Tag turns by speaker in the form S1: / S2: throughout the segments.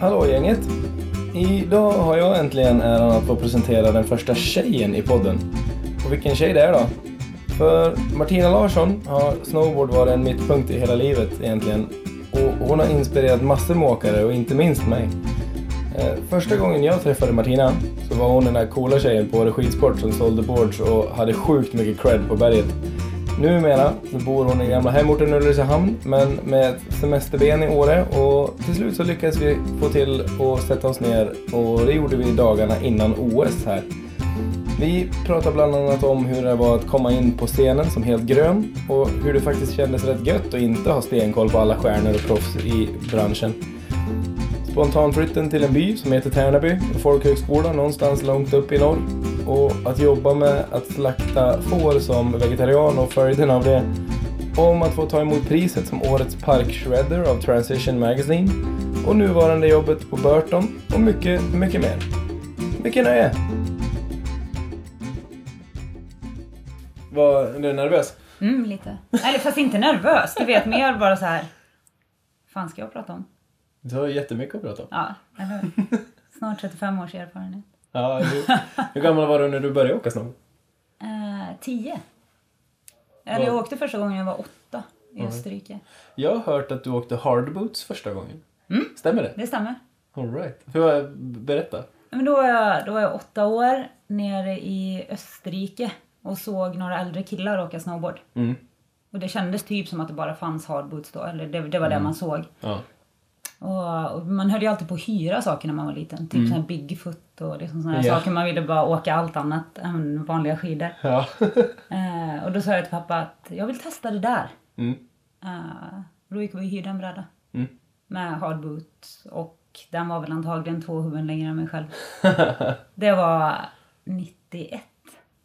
S1: Hallå gänget! Idag har jag äntligen äran att få presentera den första tjejen i podden. Och vilken tjej det är då! För Martina Larsson har snowboard varit en mittpunkt i hela livet egentligen. Och hon har inspirerat massor med åkare och inte minst mig. Eh, Första gången jag träffade Martina så var hon den där coola tjejen på Åre Skidsport som sålde boards och hade sjukt mycket cred på berget. Numera så bor hon i gamla hemorten Ulricehamn men med ett semesterben i Åre och till slut så lyckades vi få till att sätta oss ner och det gjorde vi dagarna innan OS här. Vi pratar bland annat om hur det var att komma in på scenen som helt grön och hur det faktiskt kändes rätt gött att inte ha stenkoll på alla stjärnor och proffs i branschen. Spontanflytten till en by som heter Tärnaby, en folkhögskola någonstans långt upp i norr. Och att jobba med att slakta får som vegetarian och följden av det. Om att få ta emot priset som årets parkshredder av Transition Magazine. Och nuvarande jobbet på Burton och mycket, mycket mer. Mycket nöje! Var, är du nervös?
S2: Mm, lite. Eller fast inte nervös, du vet mer bara så här. fan ska jag prata om?
S1: Du har jättemycket att prata om.
S2: Ja, eller hur? Snart 35 års erfarenhet.
S1: Ja, du, hur gammal var du när du började åka snowboard?
S2: Eh, 10. Eller jag åkte första gången jag var åtta i Österrike.
S1: Jag har hört att du åkte hardboots första gången.
S2: Mm.
S1: Stämmer det?
S2: Det stämmer.
S1: Alright. Hur, berätta.
S2: Men då, var jag, då var jag åtta år nere i Österrike och såg några äldre killar åka snowboard.
S1: Mm.
S2: Och det kändes typ som att det bara fanns hardboots då, eller det, det var det man såg.
S1: Ja.
S2: Och, och man höll ju alltid på att hyra saker när man var liten. Typ sån här Bigfoot och liksom såna här
S1: Mm. Ja.
S2: saker. Man ville bara åka allt annat än vanliga skidor.
S1: Ja.
S2: Eh, och då sa jag till pappa att jag vill testa det där.
S1: Mm.
S2: Eh, och då gick vi och hyrde en bräda.
S1: Mm.
S2: Med hardboot. Och den var väl antagligen två huvuden längre än mig själv. Det var 91.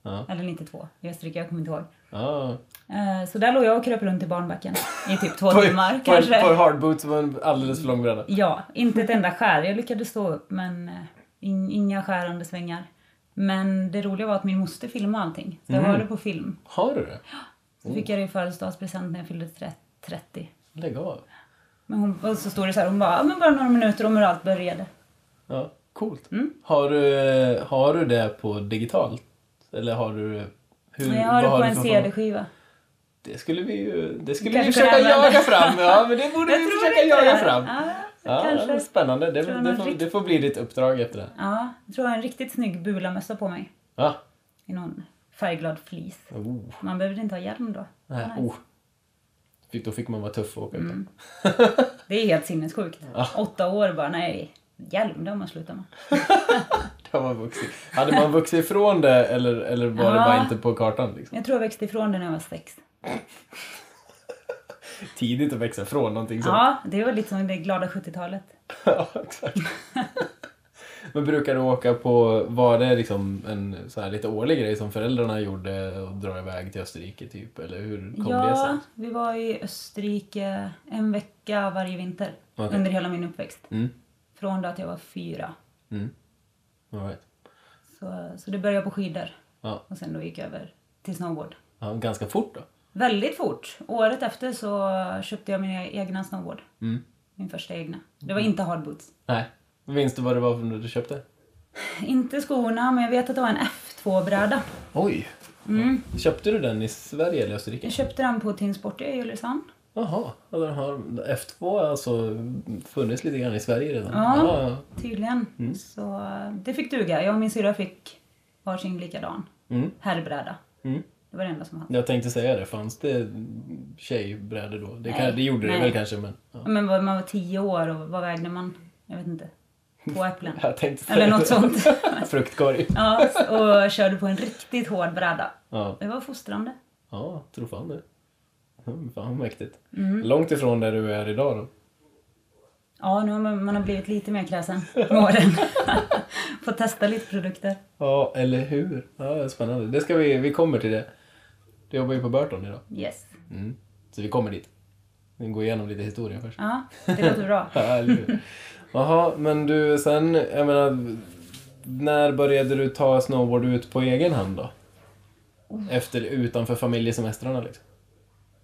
S1: Ja.
S2: Eller 92. I Österrike, jag kommer inte ihåg.
S1: ja.
S2: Eh, så där låg jag och kröp runt i barnbacken. I typ två
S1: På,
S2: timmar
S1: på,
S2: kanske.
S1: på hardboots var en alldeles för lång bräda.
S2: Ja, inte ett enda skär. Jag lyckades stå upp men eh, in, inga skärande svängar. Men det roliga var att min moster filmade allting. Så jag
S1: Mm.
S2: har det på film.
S1: Har du det?
S2: Så
S1: Oh.
S2: fick jag det i födelsedagspresent när jag fyllde tre- 30.
S1: Lägg av.
S2: Men hon, och så står det så här, hon bara, "Ja, men bara några minuter om hur allt började.
S1: Ja. Coolt.
S2: Mm.
S1: Har, du, har du det på digitalt? Eller har du... Hur,
S2: Men jag har det
S1: vad
S2: på
S1: du
S2: en
S1: för-
S2: CD-skiva.
S1: Det skulle vi ju det skulle vi
S2: Kanske
S1: försöka
S2: kunna använda.
S1: jaga fram. Ja, men det borde
S2: Jag
S1: vi
S2: tror
S1: försöka
S2: inte
S1: jaga
S2: det.
S1: fram.
S2: Ja,
S1: Ja, det
S2: kanske.
S1: var spännande. Det,
S2: Tror jag
S1: det,
S2: någon
S1: får,
S2: rikt-
S1: det får bli ditt uppdrag efter det här.
S2: Ja, jag tror jag har en riktigt snygg bulamössa på mig.
S1: Ja.
S2: I någon färgglad fleece.
S1: Oh.
S2: Man behöver inte ha hjälm då.
S1: Nej.
S2: Nice. Mm.
S1: Oh. Fick, då fick man vara tuff och åka utan.
S2: Det är helt sinnessjukt. Åtta år bara, nej, hjälm det har man slutat med.
S1: Det var vuxit. Hade man vuxit ifrån det eller, eller var det
S2: Ja.
S1: bara inte på kartan? Liksom?
S2: Jag tror jag växte ifrån det när jag var sex.
S1: Tidigt att växa ifrån någonting sånt.
S2: Ja, det var lite som det glada 70-talet.
S1: Ja, exakt. Men brukar du åka på, var det liksom en så här lite årlig grej som föräldrarna gjorde och dra iväg till Österrike typ? Eller hur kom det
S2: Ja,
S1: sig?
S2: vi var i Österrike en vecka varje vinter
S1: Okej.
S2: under hela min uppväxt.
S1: Mm.
S2: Från då att jag var fyra.
S1: Mm. All right.
S2: Så, så det började på skidor
S1: Ja.
S2: och sen då gick jag över till snowboard.
S1: ja, ganska fort då.
S2: Väldigt fort. Året efter så köpte jag min e- egna snowboard.
S1: Mm.
S2: Min första egna. Det var inte hardboots.
S1: Nej. Minns du vad det var för du köpte?
S2: Inte skorna, men jag vet att det var en F2-bräda.
S1: Oj!
S2: Mm.
S1: Köpte du den i Sverige eller Österrike?
S2: Jag köpte den på Team Sporty i Ulricehamn.
S1: Jaha, ja, den har F2 har alltså funnits lite grann i Sverige redan?
S2: Ja.
S1: ja.
S2: Tydligen.
S1: Mm.
S2: Så eh, det fick duga. Jag och min syrra fick varsin likadan
S1: Mm.
S2: herrbräda.
S1: Mm.
S2: Det var det enda som fanns.
S1: Jag tänkte säga det, fanns det tjejbrädor då? Det, kan,
S2: Nej.
S1: det gjorde det
S2: Nej.
S1: väl kanske men... Ja.
S2: Men vad- man var tio år och vad vägde man? Jag vet inte. Två äpplen?
S1: Jag tänkte säga
S2: Eller
S1: det.
S2: något sånt.
S1: Fruktkorg.
S2: Ja, och körde på en riktigt hård bräda.
S1: Ja,
S2: Det var fostrande.
S1: ja tror fan det. Mm, Fan vad mäktigt.
S2: Mm.
S1: Långt ifrån där du är idag då.
S2: Ja, nu har man, man har blivit lite mer kräsen med åren. Fått testa lite produkter.
S1: Ja, eller hur? Ja, det är spännande. Det ska vi, vi kommer till det. Du jobbar ju på Burton idag.
S2: Yes.
S1: Mm. Så vi kommer dit. Vi går igenom lite historia först.
S2: Ja, det låter bra.
S1: Ja, eller hur? Jaha, men du sen, jag menar, när började du ta snowboard ut på egen hand då? Efter, utanför familjesemestrarna liksom?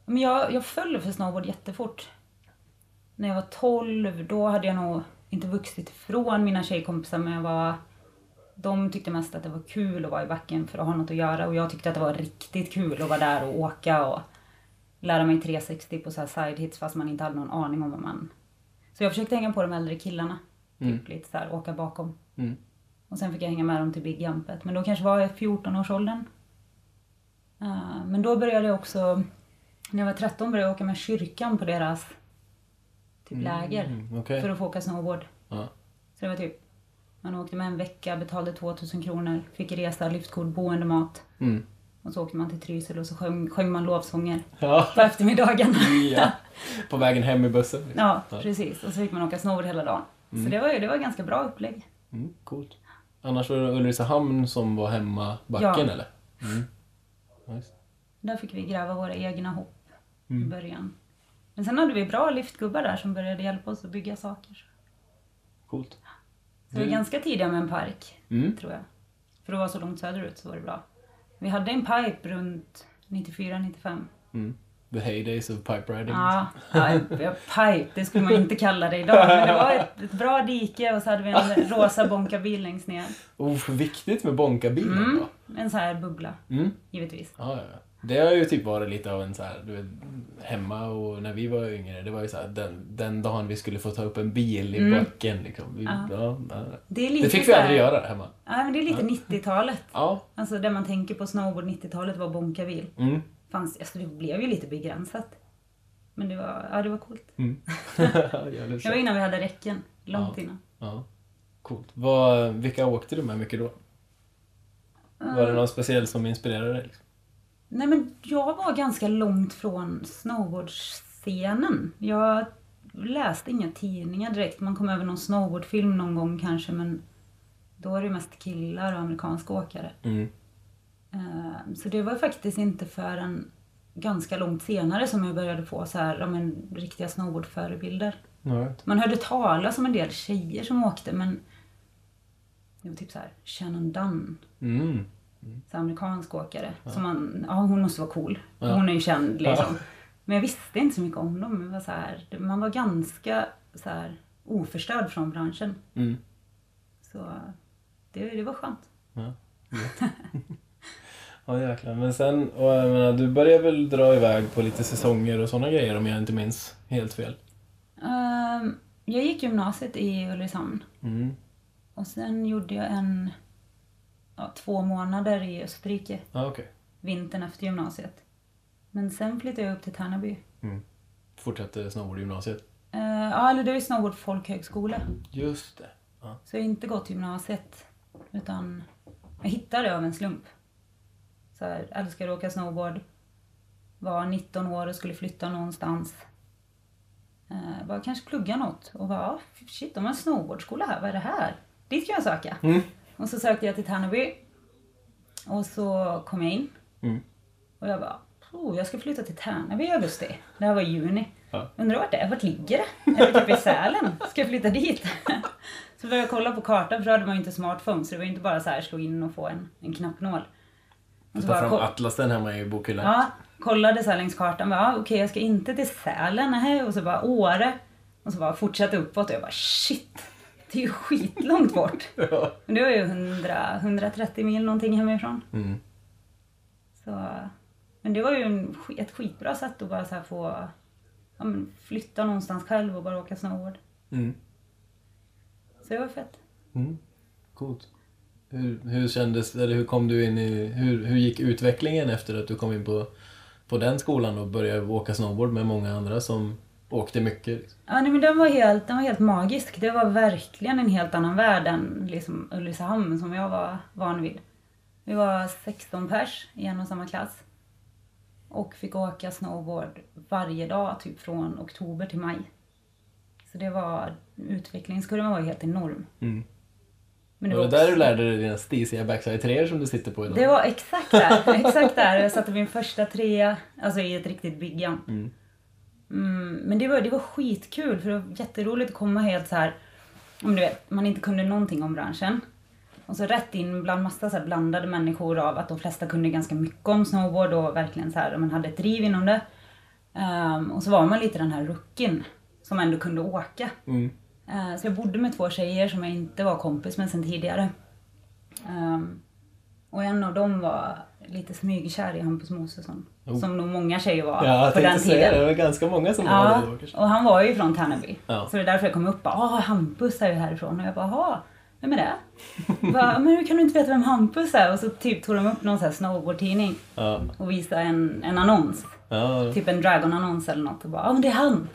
S2: Men jag, jag föll för snowboard jättefort. När jag var 12, då hade jag nog inte vuxit ifrån mina tjejkompisar men jag var... De tyckte mest att det var kul att vara i backen för att ha något att göra och jag tyckte att det var riktigt kul att vara där och åka och lära mig 360 på så här side hits fast man inte hade någon aning om vad man... Så jag försökte hänga på de äldre killarna. Typ
S1: Mm.
S2: lite så här, åka bakom.
S1: Mm.
S2: Och sen fick jag hänga med dem till Big Jumpet. Men då kanske var jag 14-årsåldern. Eh, men då började jag också, när jag var 13 började jag åka med kyrkan på deras typ läger.
S1: Mm, Okej.
S2: För att få åka snowboard.
S1: Ja.
S2: Så det var typ, man åkte med en vecka, betalade 2000 kronor, fick resa, liftkort, boende, mat.
S1: Mm.
S2: Och så åkte man till Trysil och så sjöng, sjöng man lovsånger
S1: Ja.
S2: på eftermiddagen.
S1: ja. På vägen hem i bussen. liksom.
S2: ja, precis. Och så fick man åka snowboard hela dagen. Så det var ju det var ganska bra upplägg.
S1: Mm, coolt. Annars var det Ulricehamn som var hemmabacken
S2: Ja.
S1: eller? Mm. Nice.
S2: Där fick vi gräva våra egna hopp i
S1: Mm.
S2: början. Men sen hade vi bra liftgubbar där som började hjälpa oss att bygga saker.
S1: Coolt.
S2: Så vi var ganska tidiga med en park,
S1: Mm.
S2: tror jag. För att vara så långt söderut så var det bra. Vi hade en pipe runt 94-95.
S1: Mm. The heydays of pipe riding.
S2: Ja, ja, en- ja, pipe, det skulle man ju inte kalla det idag. Men det var ett, ett bra dike och så hade vi en rosa bonkabil längst ner.
S1: Oh, viktigt med Bonkabilen
S2: Mm,
S1: då.
S2: en så här bubbla,
S1: Mm.
S2: givetvis.
S1: Ja, ja, ja. Det har ju typ varit lite av en så här, du vet, hemma och när vi var yngre, det var ju så här, den, den dagen vi skulle få ta upp en bil i backen liksom. Vi, ja.
S2: Ja.
S1: ja.
S2: Det, är lite
S1: Det fick vi
S2: så här-
S1: aldrig göra hemma.
S2: Ja, men det är lite 90-talet.
S1: Ja.
S2: Alltså det man tänker på snowboard 90-talet var bonkabil.
S1: Mm.
S2: fanns, alltså det blev ju lite begränsat. Men det var, ja, det var coolt.
S1: Mm. Jävligt
S2: Det var
S1: så.
S2: innan vi hade räcken. Långt
S1: Ja.
S2: innan.
S1: ja. Coolt. Vad, vilka åkte du med mycket då? Var det någon speciell som inspirerade dig? Liksom?
S2: Nej men jag var ganska långt från snowboardscenen. Jag läste inga tidningar direkt. Man kom över någon snowboardfilm någon gång kanske men då är det ju mest killar och amerikanska åkare.
S1: Mm.
S2: Eh, Så det var faktiskt inte förrän ganska långt senare som jag började få så här, ja, men, riktiga snowboardförebilder.
S1: Right.
S2: Man hörde talas om en del tjejer som åkte men det var typ så här, Shannon Dunn,
S1: Mm.
S2: så här amerikansk åkare. Som man, ja hon måste vara cool.
S1: Ja.
S2: Hon är ju känd liksom. Men jag visste inte så mycket om dem. Det Var så här, man var ganska så här, oförstörd från branschen.
S1: Mm.
S2: Så det, det var skönt.
S1: Ja, gött. ja jäklar. Men sen, och jag menar, du började väl dra iväg på lite säsonger och sådana grejer om jag inte minns helt fel?
S2: Ehm, jag gick gymnasiet i Ulricehamn.
S1: Mm.
S2: Och sen gjorde jag en, ja, två månader i Österrike.
S1: Ja, okej.
S2: Vintern efter gymnasiet. Men sen flyttade jag upp till Tärnaby.
S1: Mm. Fortsatte snowboardgymnasiet.
S2: Eh, Ja, eller det är ju snowboard folkhögskola.
S1: Just det. Ja.
S2: Så jag har inte gått gymnasiet. Utan jag hittade det av en slump. Så här, älskar att åka snowboard. Var 19 år och skulle flytta någonstans. Eh, bara kanske plugga något. Och bara, "Ah, shit de har en snowboardskola här, vad är det här? Dit kan jag söka.
S1: Mm.
S2: Och så sökte jag till Tärnaby. Och så kom jag in.
S1: Mm.
S2: Och jag bara, oh, jag ska flytta till Tärnaby i augusti. Det här var i juni.
S1: Ja.
S2: Undrar vart det är? Vart ligger det? Är det typ i Sälen? Ska jag flytta dit? så började jag kolla på kartan, för då hade man ju inte smartphone. Så det var ju inte bara så här, slå in och få en, en knappnål.
S1: Du
S2: Och
S1: tar
S2: så bara,
S1: fram
S2: ko-
S1: atlasen hemma i bokhyllan.
S2: ja, kollade så här längs kartan. Bara, ah, okej, jag ska inte till Sälen. Nej. Och så bara Åre. Och så bara fortsatte uppåt. Och jag bara, shit. Det är ju skitlångt bort.
S1: Ja.
S2: Men det var ju 100, 130 mil någonting hemifrån.
S1: Mm.
S2: Så, men det var ju en, sk- ett skitbra sätt att bara så här få ja, men flytta någonstans själv och bara åka snowboard.
S1: Mm.
S2: Så det var fett.
S1: Mm. Coolt. Hur, hur kändes, eller hur kom du in i, hur, hur gick utvecklingen efter att du kom in på, på den skolan och började åka snowboard med många andra som åkte mycket? Liksom?
S2: Ja, nej, men den, var helt, den var helt magisk. Det var verkligen en helt annan värld än liksom Ulricehamn som jag var van vid. Vi var 16 pers i en och samma klass. Och fick åka snowboard varje dag, typ från oktober till maj. Så det var, utvecklingskurvan var ju helt enorm.
S1: Mm.
S2: Men
S1: Var det där du lärde dig dina stisiga backside 3 som du sitter på idag?
S2: Det var exakt där. Exakt där. Jag satte min första trea, alltså i ett riktigt big jump.
S1: Mm.
S2: Mm, men det var, det var skitkul för det var jätteroligt att komma helt så här, om du vet, man inte kunde någonting om branschen. Och så rätt in bland massa så här blandade människor av att de flesta kunde ganska mycket om snowboard och verkligen så här, man hade ett driv inom det. Ehm, och så var man lite den här rookien som ändå kunde åka.
S1: Mm.
S2: Eh, Så jag bodde med två tjejer som jag inte var kompis med sen tidigare. Ehm, Och en av dem var lite smygkär i Hampus Mosesson.
S1: Oh.
S2: Som nog många tjejer var
S1: Ja, jag
S2: på den
S1: tänkte säga det.
S2: tiden.
S1: Det var ganska många som
S2: Ja,
S1: hade det. kanske.
S2: och han var ju från Tärnaby.
S1: Ja.
S2: Så det är därför jag kom upp och bara ”Åh, Hampus är ju härifrån” och jag bara ”Jaha, vem är det?” bara, ”Men hur kan du inte veta vem Hampus är?” och så typ tog de upp någon sån här snowboardtidning
S1: Ja.
S2: och visade en, en annons.
S1: Ja.
S2: Typ en Dragon-annons eller något och bara ”Ja, men det är han”.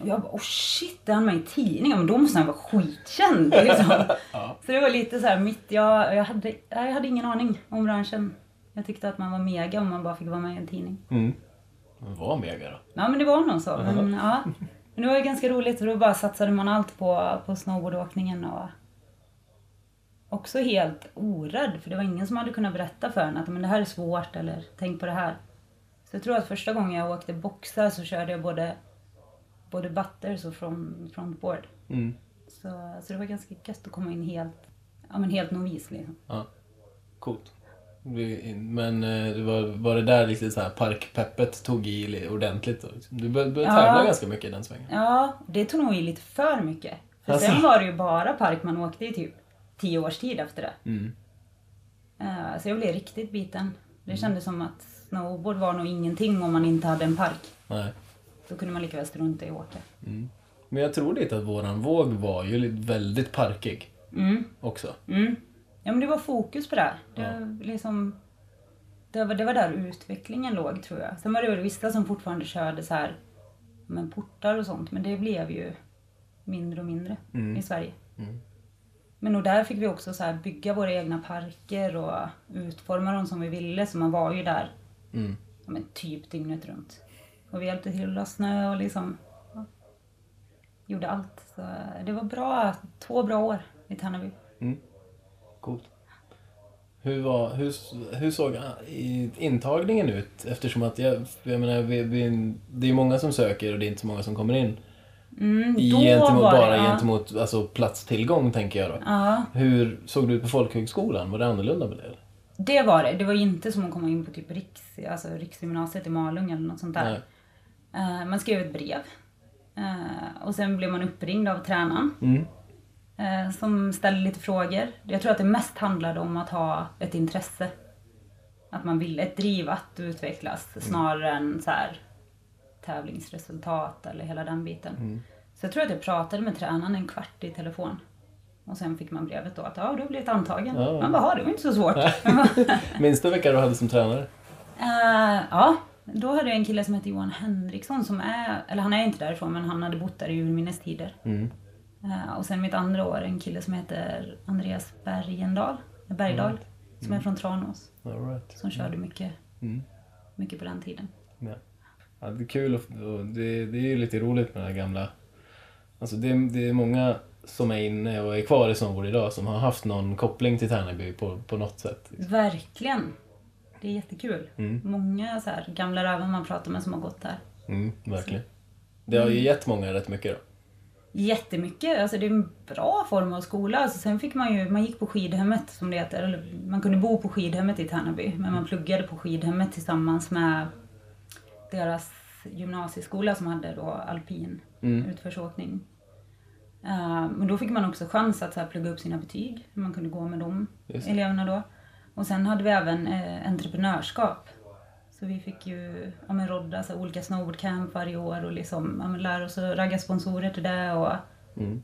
S2: Och jag bara ”Oh shit, är han med i tidningen?” Men då måste han vara skitkänd liksom. Så det var lite så här mitt, jag, jag, hade, jag hade ingen aning om branschen. Jag tyckte att man var mega om man bara fick vara med i en tidning.
S1: Mm. Men Vad mega då?
S2: Ja men det var nog så. Men, ja. men det var ju ganska roligt för då bara satsade man allt på, på snowboardåkningen och också helt orädd för det var ingen som hade kunnat berätta för en att men det här är svårt eller tänk på det här. Så jag tror att första gången jag åkte boxar så körde jag både, både butters och från, frontboard.
S1: Mm.
S2: Så, så det var ganska gött att komma in helt, ja, men helt novis liksom.
S1: Ja. Coolt. Vi- Men eh, det var, var det där liksom så här parkpeppet tog i li- ordentligt? Då? liksom? Du började, började
S2: Ja.
S1: tävla ganska mycket i den svängen.
S2: Ja, det tog nog i lite för mycket. För
S1: Alltså.
S2: Sen var det ju bara park man åkte i typ tio års tid efter det.
S1: Mm.
S2: Eh, Så jag blev riktigt biten. Det kändes som att snowboard var nog ingenting om man inte hade en park.
S1: Nej.
S2: Då kunde man lika väl strunta i att åka.
S1: Men jag tror lite att våran våg var ju li- väldigt parkig
S2: Mm,
S1: också.
S2: mm. Ja men det var fokus på det. här. Det, liksom, det, var, det var där utvecklingen låg tror jag. Sen var det väl vissa som fortfarande körde så här, men portar och sånt. Men det blev ju mindre och mindre i Sverige.
S1: Mm.
S2: Men och där fick vi också så här bygga våra egna parker och utforma dem som vi ville. Så man var ju där
S1: Mm.
S2: ja, men typ dygnet runt. Och vi hjälpte till att la snö och liksom ja, gjorde allt. Så det var bra, två bra år i Tärnaby.
S1: Coolt. Hur, var, hur, hur såg ah, i- intagningen ut? Eftersom att jag, jag menar, vi, vi, det är många som söker och det är inte så många som kommer in.
S2: Mm,
S1: I gentemot, bara
S2: ja.
S1: gentemot alltså, platstillgång tänker jag då.
S2: Ja,
S1: Hur såg du ut på folkhögskolan? Var det annorlunda med det? eller?
S2: det var det. Det var inte som att komma in på typ Riks, alltså Riksgymnasiet i Malung eller något sånt där.
S1: Nej.
S2: Eh, man skrev ett brev. Eh, och sen blev man uppringd av tränaren.
S1: Mm.
S2: eh, som ställde lite frågor. Jag tror att det mest handlade om att ha ett intresse. Att man ville, ett driv att utvecklas
S1: Mm.
S2: snarare än så här, tävlingsresultat eller hela den biten.
S1: Mm.
S2: Så jag tror att jag pratade med tränaren en kvart i telefon. Och sen fick man brevet då att ja, du har blivit antagen.
S1: Ja.
S2: Man bara, "Ja, det var inte så svårt. Man bara,
S1: Minns du vilka du hade som tränare?
S2: Eh, ja, då hade jag en kille som hette Johan Henriksson som är, eller han är inte därifrån men han hade bott där i urminnes tider.
S1: Mm.
S2: Eh, och sen mitt andra år en kille som heter Andreas Bergendahl, eh, Bergdahl, som är från Tranås.
S1: All right.
S2: Som körde mycket,
S1: Mm.
S2: mycket på den tiden.
S1: Ja. Ja, det är kul och, och det, det är ju lite roligt med den här gamla... Alltså det, det är många som är inne och är kvar i snowboard idag som har haft någon koppling till Tärnaby på, på något sätt.
S2: Verkligen! Det är jättekul.
S1: Mm.
S2: Många så här, gamla röven man pratar med som har gått där.
S1: Mm, verkligen. Det har ju
S2: Mm.
S1: gett många rätt mycket då.
S2: Jättemycket, alltså det är en bra form av skola. Alltså sen fick man ju, man gick på skidhemmet som det heter, eller man kunde bo på skidhemmet i Tärnaby, men man pluggade på skidhemmet tillsammans med deras gymnasieskola som hade då alpin
S1: Mm.
S2: utförsåkning. Eh, Men då fick man också chans att så här plugga upp sina betyg, man kunde gå med de
S1: Just det.
S2: eleverna då. Och sen hade vi även eh, entreprenörskap. Så vi fick ju ja, men rodda så här, olika snowboardcamp varje år och liksom, ja, men lära oss att ragga sponsorer till det. Och...
S1: Mm.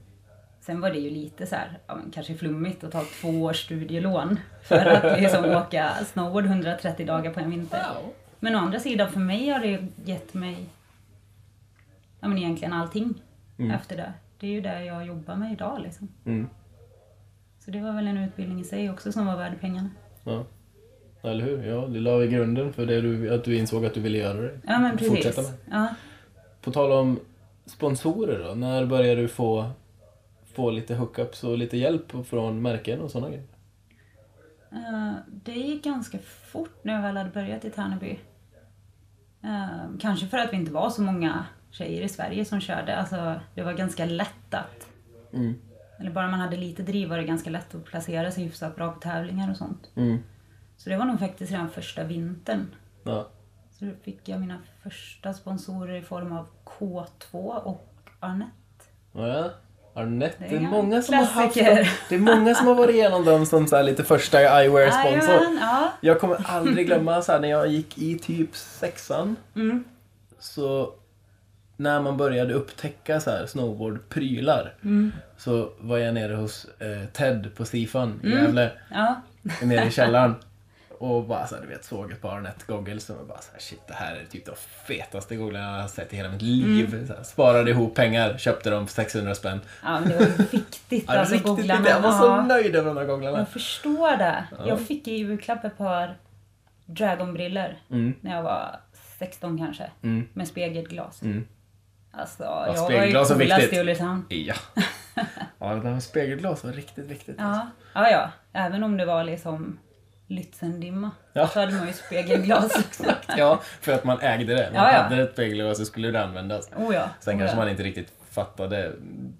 S2: Sen var det ju lite så här, ja, men kanske flummigt att ta två års studielån för att liksom åka snowboard 130 dagar på en vinter. Men å andra sidan, för mig har det ju gett mig ja, men egentligen allting
S1: Mm.
S2: efter det. Det är ju det jag jobbar med idag liksom.
S1: Mm.
S2: Så det var väl en utbildning i sig också som var värd pengarna.
S1: Ja. Eller hur? Ja, det la vi grunden för det du, att du insåg att du ville göra det.
S2: Ja men precis.
S1: Fortsätta med.
S2: Ja.
S1: På tal om sponsorer då, när började du få, få lite hookups och lite hjälp från märken och sådana grejer?
S2: Eh, det gick ganska fort när jag väl hade börjat i Tärnaby. Eh, kanske för att vi inte var så många tjejer i Sverige som körde. Alltså, det var ganska lätt att
S1: Mm.
S2: Eller bara man hade lite driv var det ganska lätt att placera sig hyfsat bra på tävlingar och sånt.
S1: Mm.
S2: Så det var nog faktiskt redan första vintern.
S1: Ja.
S2: Så då fick jag mina första sponsorer i form av K2 och Arnett.
S1: Ja, Arnett,
S2: Det
S1: det
S2: är
S1: är,
S2: en
S1: många som har haft
S2: klassiker.
S1: dem, Det är många som har varit igenom dem som så här lite första eyewear-sponsor.
S2: Jajamän, ja.
S1: Jag kommer aldrig glömma så här, när jag gick i typ sexan.
S2: Mm.
S1: Så när man började upptäcka så här snowboardprylar
S2: Mm.
S1: så var jag nere hos eh, Ted på Sifan i
S2: Mm.
S1: Gävle,
S2: ja.
S1: nere i källaren. Och bara så här, du vet, såg ett par Arnett goggles och bara så här, shit det här är typ de fetaste gogglarna jag har sett i hela mitt liv.
S2: Mm.
S1: Så här, sparade ihop pengar, köpte dem för 600 spänn.
S2: ja, men det var ju viktigt
S1: Ja,
S2: alltså
S1: riktigt,
S2: googlarna.
S1: riktigt, jag var så
S2: Ja.
S1: nöjd över de där gogglarna.
S2: Jag förstår det. Jag fick i julklapp ett par Dragon-briller
S1: Mm.
S2: när jag var 16 kanske.
S1: Mm.
S2: Med spegelglas.
S1: Mm.
S2: Alltså, jag
S1: spegelglas är
S2: var ju coolast
S1: viktigt.
S2: i Ulricehamn.
S1: Ja. ja, det där med spegelglas var riktigt viktigt.
S2: Ja. ja, ja. Även om det var liksom Lützendimma.
S1: Ja.
S2: Så hade man ju spegelglas också.
S1: Ja, för att man ägde det. Man
S2: Ja, ja.
S1: hade ett spegelglas så skulle det användas.
S2: Oh ja.
S1: Sen
S2: oh
S1: kanske
S2: ja.
S1: man inte riktigt fattade.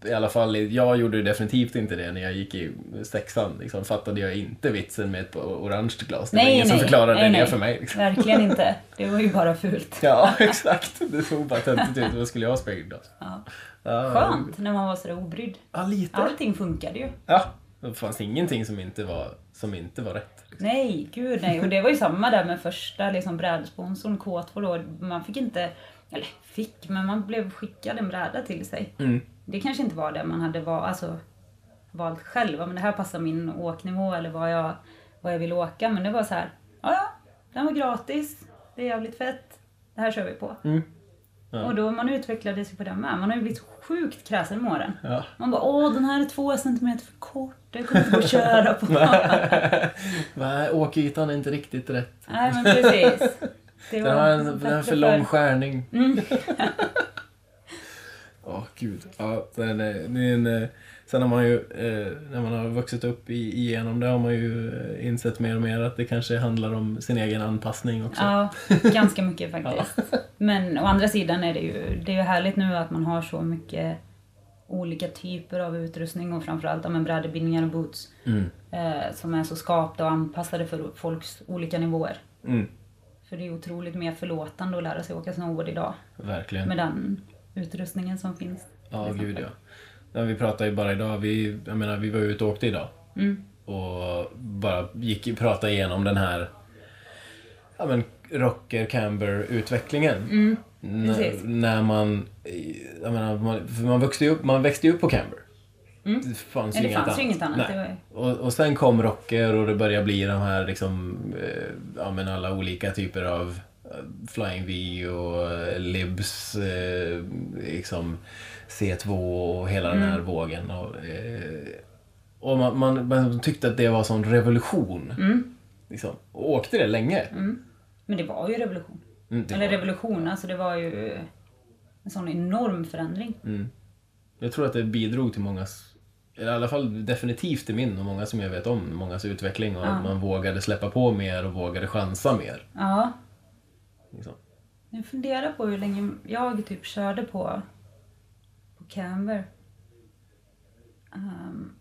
S1: I alla fall, jag gjorde ju definitivt inte det när jag gick i sexan. Liksom, fattade jag inte vitsen med ett par orange glas. Det var
S2: Nej,
S1: ingen som
S2: nej.
S1: förklarade
S2: Nej,
S1: det
S2: nej.
S1: för mig. Liksom.
S2: Verkligen inte. Det var ju bara fult.
S1: Ja, exakt. Det såg bara töntigt ut. Vad skulle jag ha spegelglas?
S2: Ja.
S1: Ja,
S2: Skönt när man var sådär obrydd.
S1: Ja, lite.
S2: Allting funkade ju.
S1: Ja, det fanns ingenting som inte var, som inte var rätt.
S2: Nej, gud nej. Och det var ju samma där med första liksom, brädsponsorn K2 då. Man fick inte, eller fick, men man blev skickad en bräda till sig.
S1: Mm.
S2: Det kanske inte var det man hade va, alltså, valt själv. Ja, Men det här passar min åknivå eller vad jag, vad jag vill åka. Men det var så här, ja ja, den var gratis. Det är jävligt fett. Det här kör vi på.
S1: Mm. Ja.
S2: Och då man utvecklade sig på det med. Man har ju blivit så sjukt kräsen med åren.
S1: Ja.
S2: Man bara, åh den här är två centimeter för kort. Det kommer inte gå att köra på.
S1: Nej, åkytan är inte riktigt rätt.
S2: Nej men precis. Det
S1: Den har, en, den
S2: bättre
S1: har för lång
S2: förr.
S1: skärning.
S2: Mm.
S1: Åh gud. Ja, den är, det är en, eh, sen har man ju, eh, när man har vuxit upp i, igenom det har man ju eh, insett mer och mer att det kanske handlar om sin egen anpassning också.
S2: Ja, ganska mycket faktiskt. Men å andra sidan är det ju, det är ju härligt nu att man har så mycket olika typer av utrustning och framförallt ja, men brädebindningar och boots
S1: Mm.
S2: eh, som är så skapta och anpassade för folks olika nivåer.
S1: Mm,
S2: För det är otroligt mer förlåtande att lära sig åka snowboard idag
S1: verkligen.
S2: med den utrustningen som finns.
S1: Ja,
S2: till exempel.
S1: gud ja. ja. Vi pratade ju bara idag, vi, jag menar vi var ute och åkte idag.
S2: Mm.
S1: Och bara gick pratade igenom den här ja, men rocker camber utvecklingen
S2: Mm.
S1: när,
S2: Precis.
S1: när man, jag menar, man, för man, växte ju upp, man växte ju upp på camber.
S2: Mm.
S1: Det fanns
S2: Nej,
S1: ju
S2: det
S1: inget
S2: fanns ju
S1: annat.
S2: inget annat.
S1: Nej.
S2: Det var ju...
S1: Och, och sen kom rocker och det började bli de här liksom, eh, ja men alla olika typer av eh, Flying V och eh, Libs, eh, liksom C2 och hela den här
S2: Mm.
S1: vågen. Och, eh, och man, man, man tyckte att det var en sån revolution.
S2: Mm.
S1: Liksom. Och åkte det länge.
S2: Mm. Men det var ju revolution.
S1: Mm, det
S2: Eller
S1: var-
S2: revolution, alltså det var ju en sån enorm förändring.
S1: Mm. Jag tror att det bidrog till mångas, eller i alla fall definitivt till min och många som jag vet om, mångas utveckling och
S2: Ja.
S1: att man vågade släppa på mer och vågade chansa mer.
S2: Ja,
S1: Liksom.
S2: jag funderar på hur länge jag typ körde på, på Canver. Ehm,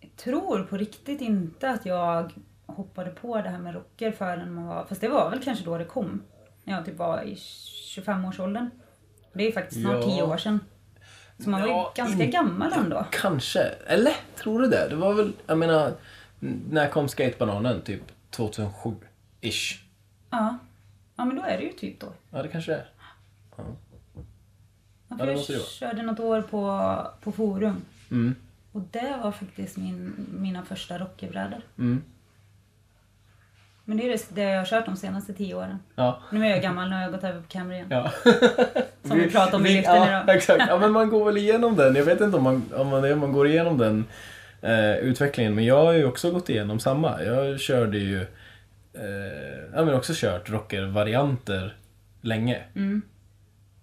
S2: jag tror på riktigt inte att jag hoppade på det här med rocker förrän man var, fast det var väl kanske då det kom. När jag typ var i 25-årsåldern. Det är ju faktiskt
S1: Ja.
S2: snart 10 år sedan. Så man var ju
S1: Ja,
S2: ganska
S1: in-
S2: gammal ändå.
S1: Kanske, eller tror du det? Det var väl, jag menar, n- när kom skatebananen? Typ 2007-ish?
S2: Ja. ja, men då är det ju typ då.
S1: Ja, det kanske det är. Ja.
S2: Ja,
S1: Ja,
S2: för
S1: det
S2: jag
S1: måste det vara.
S2: körde något år på, på Forum.
S1: Mm,
S2: Och det var faktiskt min, mina första rockerbrädor.
S1: mm,
S2: Men det är det, det jag har kört de senaste tio åren.
S1: ja.
S2: Nu är jag gammal, nu har jag gått över på Camry igen.
S1: Ja.
S2: Som vi pratade om i liften
S1: ja,
S2: idag.
S1: Exakt. Ja, men man går väl igenom den. Jag vet inte om man, om man, om man går igenom den eh, utvecklingen. Men jag har ju också gått igenom samma. Jag körde ju... Eh, ja, men också kört rockervarianter länge.
S2: Mm.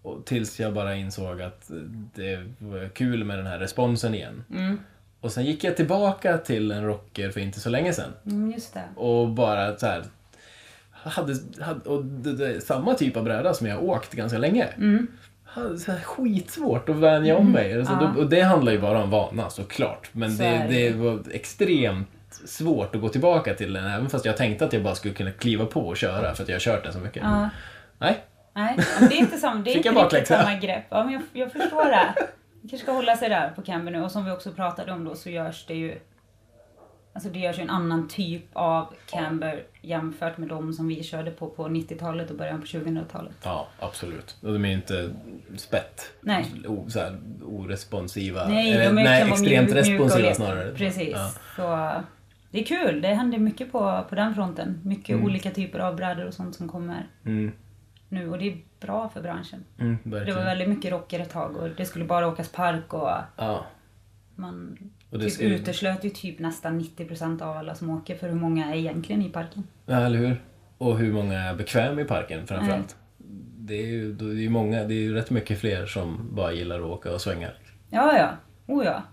S1: Och, tills jag bara insåg att det var kul med den här responsen igen.
S2: Mm.
S1: Och sen gick jag tillbaka till en rocker för inte så länge sedan.
S2: Mm, just det.
S1: Och bara så här... Hade, hade, och det, det, samma typ av bräda som jag har åkt ganska länge
S2: Mm.
S1: hade så här skitsvårt att vänja om mig. Alltså,
S2: Ja.
S1: då, och det handlar ju bara om vana såklart. Men
S2: Så
S1: det,
S2: är det.
S1: det var extremt svårt att gå tillbaka till den. Även fast jag tänkte att jag bara skulle kunna kliva på och köra för att jag har kört den så mycket.
S2: Ja.
S1: Nej,
S2: Nej, men det är inte, samma, det är
S1: Fick
S2: inte
S1: jag
S2: riktigt
S1: bakläxa?
S2: samma grepp. Ja, men jag, jag förstår det. kanske ska hålla sig där på Kambi nu och som vi också pratade om då så görs det ju Alltså det görs ju en annan typ av camber jämfört med de som vi körde på på 90-talet och början på 2000-talet.
S1: Ja, absolut. Och de är ju inte spett.
S2: Nej.
S1: O, så här, oresponsiva.
S2: Nej,
S1: Eller,
S2: de är
S1: nej
S2: kan vara
S1: extremt
S2: mjuk- mjuka och
S1: responsiva
S2: lek.
S1: snarare.
S2: Precis.
S1: Ja.
S2: Så, det är kul. Det händer mycket på, på den fronten. Mycket olika typer av brädor och sånt som kommer
S1: Mm,
S2: nu och det är bra för branschen.
S1: mm,
S2: Det var
S1: verkligen.
S2: väldigt mycket rocker ett tag och det skulle bara åkas park och
S1: Ja.
S2: man
S1: Och det
S2: typ
S1: skulle-
S2: uteslöt ju typ nästan 90% av alla som åker för hur många är egentligen i parken.
S1: ja, eller hur? Och hur många är bekväm i parken framförallt. Det är ju då- det är ju många, det är ju rätt mycket fler som bara gillar att åka och svänga.
S2: Ja, ja. Oh ja.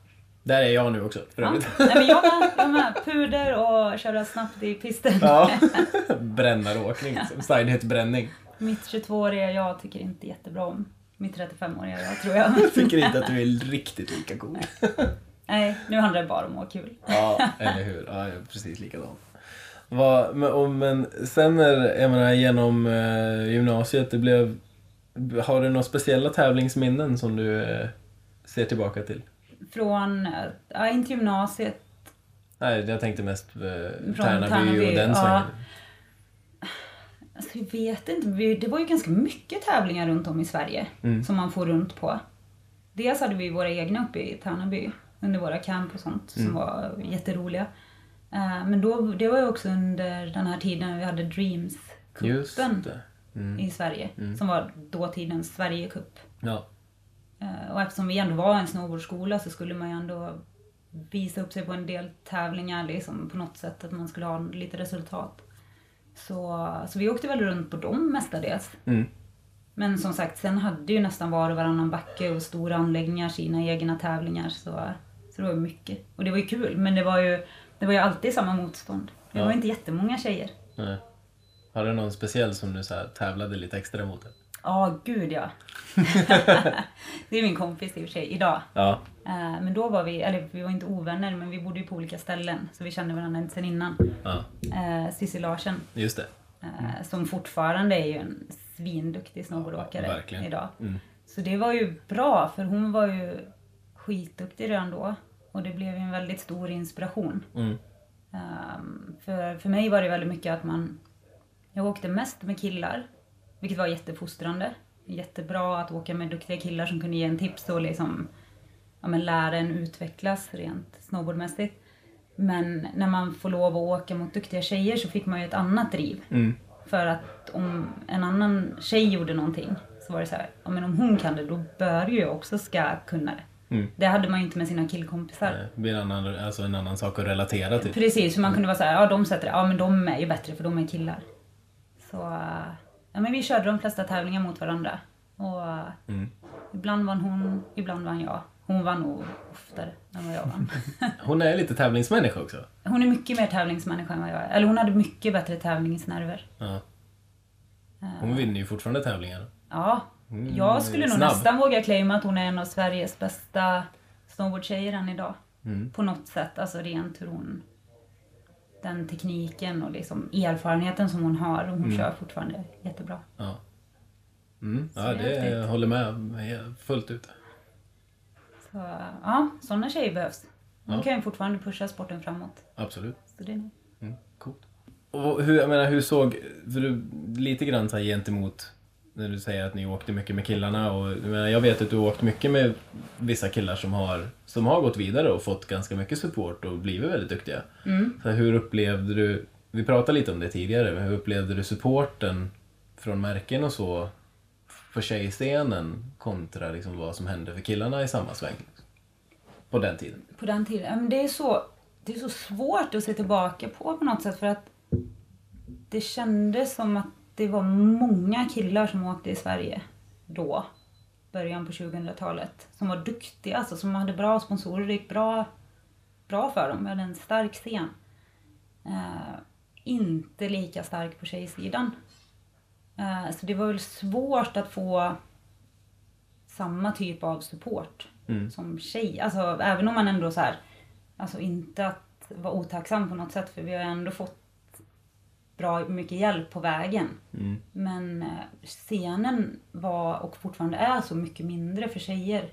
S1: Där är jag nu också för
S2: ja.
S1: övrigt.
S2: Nej, men jag med. Jag med. Puder och köra snabbt i pisten.
S1: Ja. Brännaråkning, liksom. sideheadbränning.
S2: Mitt 22-åriga jag tycker inte jättebra om mitt 35-åriga jag tror jag.
S1: Tycker inte att du är riktigt lika cool.
S2: Nej, nu handlar det bara om att ha kul.
S1: Ja, eller hur. Ja, jag är precis likadan. Va, men, och, men sen när, jag menar, genom eh, gymnasiet, det blev... Har du några speciella tävlingsminnen som du eh, ser tillbaka till?
S2: Från, eh, ja inte gymnasiet,
S1: Nej, jag tänkte mest eh,
S2: Från
S1: Tärnaby och
S2: Tärnaby,
S1: den
S2: ja.
S1: svängen.
S2: alltså jag vet inte, vi- det var ju ganska mycket tävlingar runt om i Sverige
S1: Mm.
S2: som man får runt på. Dels hade vi våra egna uppe i Tärnaby under våra camp och sånt
S1: Mm.
S2: som var jätteroliga. Eh, Men då, det var ju också under den här tiden när vi hade
S1: Just
S2: Dreams-cupen
S1: det. Mm.
S2: i Sverige som var dåtidens Sverigecup.
S1: Ja.
S2: Eh, Och eftersom vi ändå var en snowboardskola så skulle man ju ändå visa upp sig på en del tävlingar liksom på något sätt, att man skulle ha lite resultat. Så, så vi åkte väl runt på dem mestadels.
S1: Mm.
S2: Men som sagt, sen hade ju nästan var och varannan backe och stora anläggningar sina egna tävlingar. Så, så det var ju mycket. Och det var ju kul, men det var ju, det var ju alltid samma motstånd. Det
S1: Ja.
S2: var inte jättemånga tjejer.
S1: Nej. Har du någon speciell som du så här, tävlade lite extra mot?
S2: Ja, gud ja. det är min kompis i och för sig, idag.
S1: Ja.
S2: Eh, Men då var vi, eller vi var inte ovänner, men vi bodde ju på olika ställen. Så vi kände varandra sen innan.
S1: ja.
S2: Eh, Cissi Larsen,
S1: Just det.
S2: eh,
S1: Mm.
S2: som fortfarande är ju en svinduktig
S1: Ja,
S2: snowboardåkare
S1: verkligen.
S2: idag.
S1: Mm.
S2: Så det var ju bra, för hon var ju skitduktig redan då. Och det blev ju en väldigt stor inspiration.
S1: Mm.
S2: Ehm, för, för mig var det väldigt mycket att man... Jag åkte mest med killar, vilket var jättefostrande. Jättebra att åka med duktiga killar som kunde ge en tips och liksom, ja, men lära en utvecklas rent snowboardmässigt. Men när man får lov att åka mot duktiga tjejer så fick man ju ett annat driv.
S1: Mm.
S2: För att om en annan tjej gjorde någonting så var det så här, ja, men om hon kan det då bör ju jag också ska kunna det.
S1: Mm.
S2: Det hade man ju inte med sina killkompisar.
S1: Nej, Det blir en annan, alltså en annan sak att relatera till.
S2: Precis, för man kunde vara så här, ja de sätter det, ja men de är ju bättre för de är killar. Så, eh, ja men vi körde de flesta tävlingar mot varandra. Och eh,
S1: Mm.
S2: ibland vann hon, ibland vann jag. Hon vann nog oftare än vad jag vann.
S1: Hon är lite tävlingsmänniska också.
S2: hon är mycket mer tävlingsmänniska än vad jag är. Eller hon hade mycket bättre tävlingsnerver.
S1: Ja. Hon vinner ju fortfarande tävlingar.
S2: Ja, jag skulle nog
S1: Mm, snabb.
S2: nästan våga claima att hon är en av Sveriges bästa snowboardtjejer än idag.
S1: Mm.
S2: På något sätt, alltså rent hur hon... Den tekniken och liksom erfarenheten som hon har. Och hon
S1: Mm.
S2: kör fortfarande jättebra.
S1: Ja, mm.
S2: Så
S1: ja det
S2: häftigt.
S1: jag håller med fullt ut.
S2: Så, ja, sådana tjejer behövs. De
S1: Ja.
S2: kan ju fortfarande pusha sporten framåt.
S1: Absolut.
S2: Så det är nog-
S1: Mm. Coolt. Och hur, jag menar, hur såg, för du, lite grann så här gentemot när du säger att ni åkte mycket med killarna och jag, menar, jag vet att du har åkt mycket med vissa killar som har, som har gått vidare och fått ganska mycket support och blivit väldigt duktiga. Så här, hur upplevde du, vi pratade lite om det tidigare, men hur upplevde du supporten från märken och så för tjejscenen kontra liksom vad som hände för killarna i samma sväng? På den tiden.
S2: på den tiden. Ja, Men det, är så, det är så svårt att se tillbaka på på något sätt för att det kändes som att det var många killar som åkte i Sverige då, början på 2000-talet, som var duktiga, alltså, som hade bra sponsorer, det gick bra, bra för dem, vi hade en stark scen. Eh, inte lika stark på tjejsidan. Eh, så det var väl svårt att få samma typ av support
S1: Mm.
S2: som tjej. Alltså även om man ändå så här, alltså inte att vara otacksam på något sätt för vi har ändå fått bra mycket hjälp på vägen.
S1: Mm.
S2: Men eh, scenen var och fortfarande är så mycket mindre för tjejer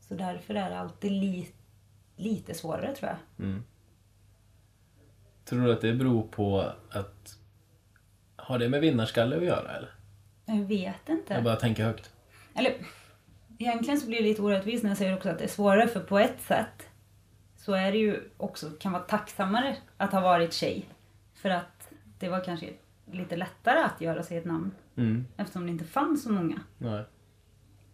S2: Så därför är det alltid li, lite svårare tror jag.
S1: Mm. Tror du att det beror på att... Har det med vinnarskalle att göra eller?
S2: Jag vet inte.
S1: Jag bara tänker högt.
S2: Eller egentligen så blir det lite orättvist när jag säger också att det är svårare för på ett sätt så är det ju också, kan vara tacksammare att ha varit tjej. För att det var kanske lite lättare att göra sig ett namn
S1: Mm.
S2: eftersom det inte fanns så många.
S1: Nej.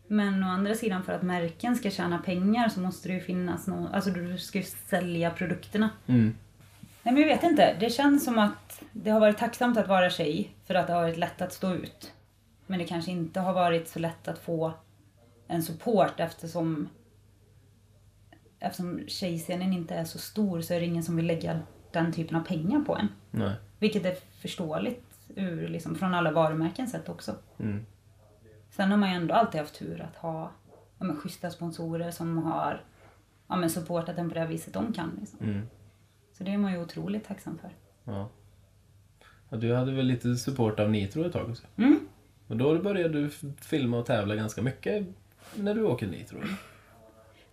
S2: Men å andra sidan för att märken ska tjäna pengar så måste det ju finnas någon, alltså du ska ju sälja produkterna.
S1: Mm.
S2: Nej men jag vet inte, det känns som att det har varit tacksamt att vara tjej för att det har varit lätt att stå ut. Men det kanske inte har varit så lätt att få en support eftersom eftersom tjejscenen inte är så stor så är det ingen som vill lägga den typen av pengar på en.
S1: Nej.
S2: Vilket är förståeligt ur, liksom, från alla varumärkens sätt också.
S1: Mm.
S2: Sen har man ju ändå alltid haft tur att ha ja, men, schyssta sponsorer som har ja, men, supportat en på det viset de kan. Liksom.
S1: Mm.
S2: Så det är man ju otroligt tacksam för.
S1: Ja. ja. Du hade väl lite support av Nitro ett tag också?
S2: Mm.
S1: Och då började du f- filma och tävla ganska mycket när du åker Nitro?
S2: Mm.
S1: eller?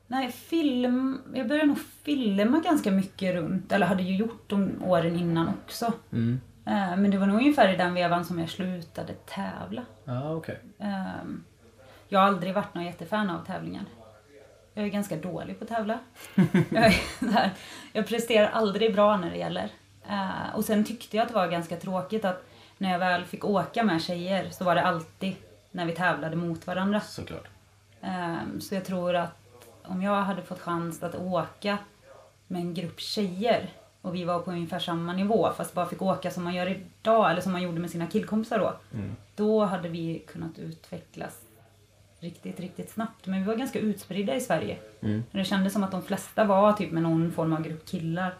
S2: Nej, film... Jag började nog filma ganska mycket runt, eller hade ju gjort de åren innan också.
S1: Mm.
S2: Eh, Men det var nog ungefär i den vevan som jag slutade tävla.
S1: Ja, ah, okej.
S2: Eh, Jag har aldrig varit någon jättefan av tävlingar. Jag är ganska dålig på att tävla. jag, är så här, jag presterar aldrig bra när det gäller. Eh, Och sen tyckte jag att det var ganska tråkigt att när jag väl fick åka med tjejer så var det alltid när vi tävlade mot varandra.
S1: Såklart.
S2: Ehm, Så jag tror att om jag hade fått chans att åka med en grupp tjejer och vi var på ungefär samma nivå fast bara fick åka som man gör idag eller som man gjorde med sina killkompisar då.
S1: Mm.
S2: Då hade vi kunnat utvecklas riktigt, riktigt snabbt. Men vi var ganska utspridda i Sverige.
S1: Mm.
S2: Och Det kändes som att de flesta var typ med någon form av grupp killar.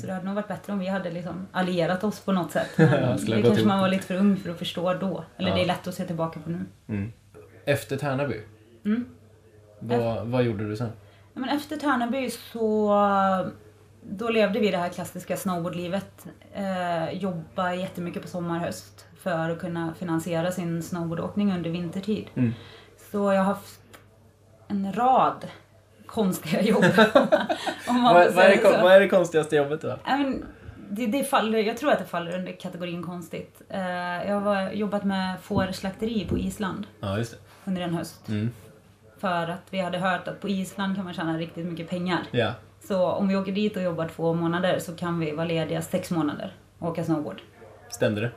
S2: Så det hade nog varit bättre om vi hade liksom allierat oss på något sätt. Men
S1: Mm. Ja,
S2: det
S1: skulle ha
S2: kanske
S1: gått ihop.
S2: man var lite för ung för att förstå då. Eller
S1: Ja.
S2: det är lätt att se tillbaka på nu.
S1: Mm. Efter Tärnaby,
S2: Mm.
S1: vad, vad gjorde du sen?
S2: Ja, men efter Tärnaby så då levde vi det här klassiska snowboardlivet. Eh, jobba jättemycket på sommar höst för att kunna finansiera sin snowboardåkning under vintertid.
S1: Mm.
S2: Så jag har haft en rad konstiga jobb. om man
S1: Vad,
S2: får
S1: vad, är
S2: säga
S1: det, kon-
S2: så.
S1: vad är det konstigaste jobbet då?
S2: Ja, men det, det faller, jag tror att det faller under kategorin konstigt. Eh, jag har jobbat med fårslakteri på Island
S1: Ja, just
S2: under en höst.
S1: det. Mm.
S2: För att vi hade hört att på Island kan man tjäna riktigt mycket pengar.
S1: Ja.
S2: Så om vi åker dit och jobbar två månader så kan vi vara lediga sex månader och åka snowboard.
S1: Stämde det?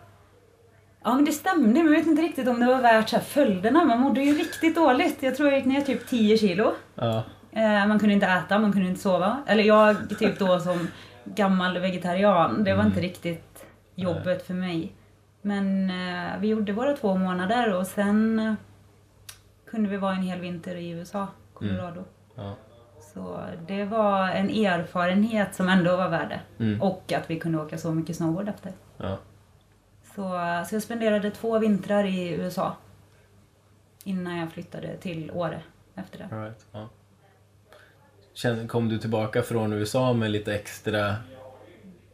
S2: Ja men det stämde, men jag vet inte riktigt om det var värt så här följderna. Man mådde ju riktigt dåligt. Jag tror jag gick ner typ 10 kilo.
S1: Ja.
S2: Eh, man kunde inte äta, man kunde inte sova. Eller jag typ då som gammal vegetarian, det var inte riktigt jobbet för mig. Men eh, vi gjorde våra två månader och sen eh, kunde vi vara en hel vinter i USA, Colorado.
S1: ja.
S2: Så det var en erfarenhet som ändå var värd det.
S1: Mm.
S2: Och att vi kunde åka så mycket snowboard efter.
S1: ja.
S2: Så, så jag spenderade två vintrar i USA. Innan jag flyttade till Åre efter det.
S1: All right. ja. Kände, kom du tillbaka från USA med lite extra...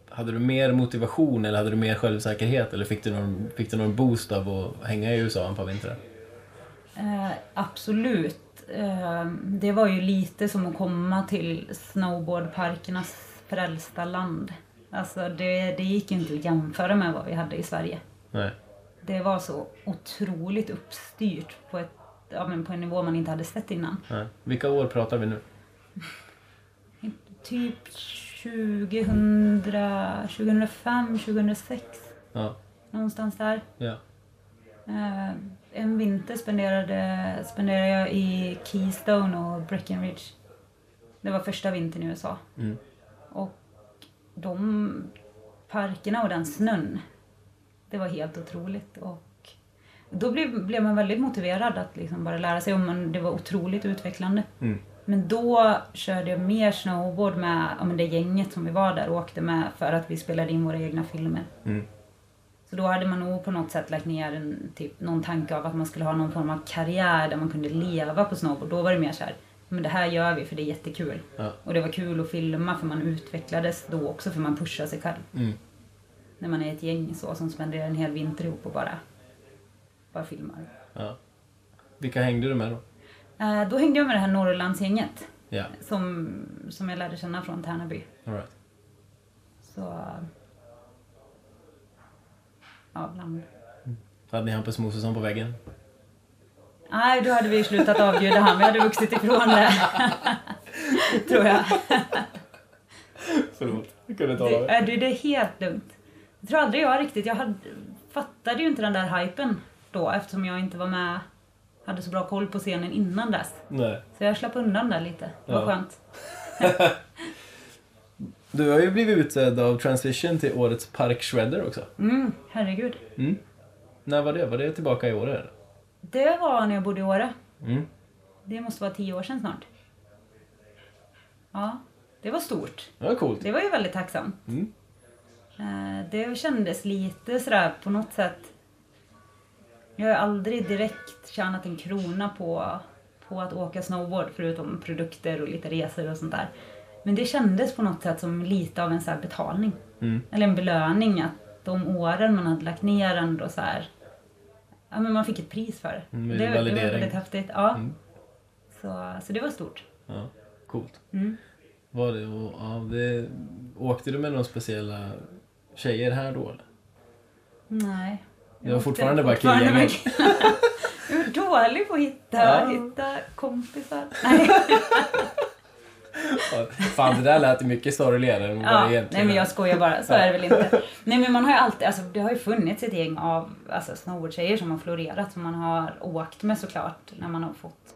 S1: Hade du mer motivation eller hade du mer självsäkerhet? Eller fick du någon, fick du någon boost av att hänga i USA ett par vintrar?
S2: Eh, absolut. Eh, det var ju lite som att komma till snowboardparkernas frälsta land. Alltså det, det gick ju inte att jämföra med vad vi hade i Sverige.
S1: Nej.
S2: Det var så otroligt uppstyrt på, ett, ja, men på en nivå man inte hade sett innan.
S1: Nej. Vilka år pratar vi nu?
S2: Typ 2000, 2005, 2006.
S1: Ja.
S2: Någonstans där.
S1: ja.
S2: Eh, en vinter spenderade, spenderade jag i Keystone och Breckenridge. Det var första vintern i USA.
S1: Mm.
S2: Och de parkerna och den snön, det var helt otroligt. Och då blev, blev man väldigt motiverad att liksom bara lära sig. Och man, det var otroligt utvecklande.
S1: Mm.
S2: Men då körde jag mer snowboard med ja, men det gänget som vi var där och åkte med för att vi spelade in våra egna filmer.
S1: Mm.
S2: Så då hade man nog på något sätt lagt ner en, typ, någon tanke av att man skulle ha någon form av karriär där man kunde leva på snowboard. Då var det mer så här, men det här gör vi för det är jättekul.
S1: Ja.
S2: Och det var kul att filma för man utvecklades då också för man pushade sig själv.
S1: Mm.
S2: När man är ett gäng så som spenderar en hel vinter ihop och bara, bara filmar.
S1: ja. Vilka hängde du med då?
S2: Eh, Då hängde jag med det här Norrlandsgänget
S1: Ja,
S2: som, som jag lärde känna från Tärnaby.
S1: alright.
S2: Så... Ja, bland...
S1: Hade ni Hampus Mosesson på väggen?
S2: Nej, då hade vi slutat avbjuda han. Vi hade vuxit ifrån det. Tror jag.
S1: Förlåt, jag kunde tala om
S2: Det,
S1: det.
S2: äh, det det är helt lugnt. Jag tror aldrig jag riktigt... Jag hade, fattade ju inte den där hypen då eftersom jag inte var med. Hade så bra koll på scenen innan dess.
S1: Nej.
S2: Så jag slapp undan där lite. Det var
S1: Ja.
S2: skönt.
S1: Du har ju blivit utsedd av Transition till årets Park Shredder också.
S2: Mm, herregud.
S1: Mm. När var det? Var det tillbaka i år eller?
S2: Det var när jag bodde i Åre.
S1: Mm.
S2: Det måste vara tio år sedan snart. Ja, det var stort.
S1: Det var coolt.
S2: Det var ju väldigt tacksamt.
S1: Mm.
S2: Eh, Det kändes lite sådär på något sätt. Jag har ju aldrig direkt tjänat en krona på, på att åka snowboard förutom produkter och lite resor och sånt där. Men det kändes på något sätt som lite av en så här betalning.
S1: Mm.
S2: Eller en belöning att de åren man hade lagt ner ändå så här. Ja men man fick ett pris för det.
S1: Mm, med
S2: det, det var
S1: validering.
S2: väldigt häftigt. Ja.
S1: Mm.
S2: Så, så det var stort.
S1: Ja, coolt.
S2: Mm.
S1: Var det, och, ja, det, åkte du med några speciella tjejer här då eller?
S2: Nej.
S1: Det var fortfarande bara
S2: fortfarande
S1: killar.
S2: med killar. Jag är dålig på att hitta,
S1: Ja.
S2: hitta kompisar. Nej,
S1: Ja, Fan, det där lät ju mycket sorgligare än vad
S2: ja,
S1: det
S2: nej
S1: egentligen
S2: men jag
S1: är.
S2: skojar bara, så är det väl inte. Nej men man har ju alltid, alltså det har ju funnits ett gäng av alltså, snowboardtjejer som har florerat som man har åkt med såklart när man har fått,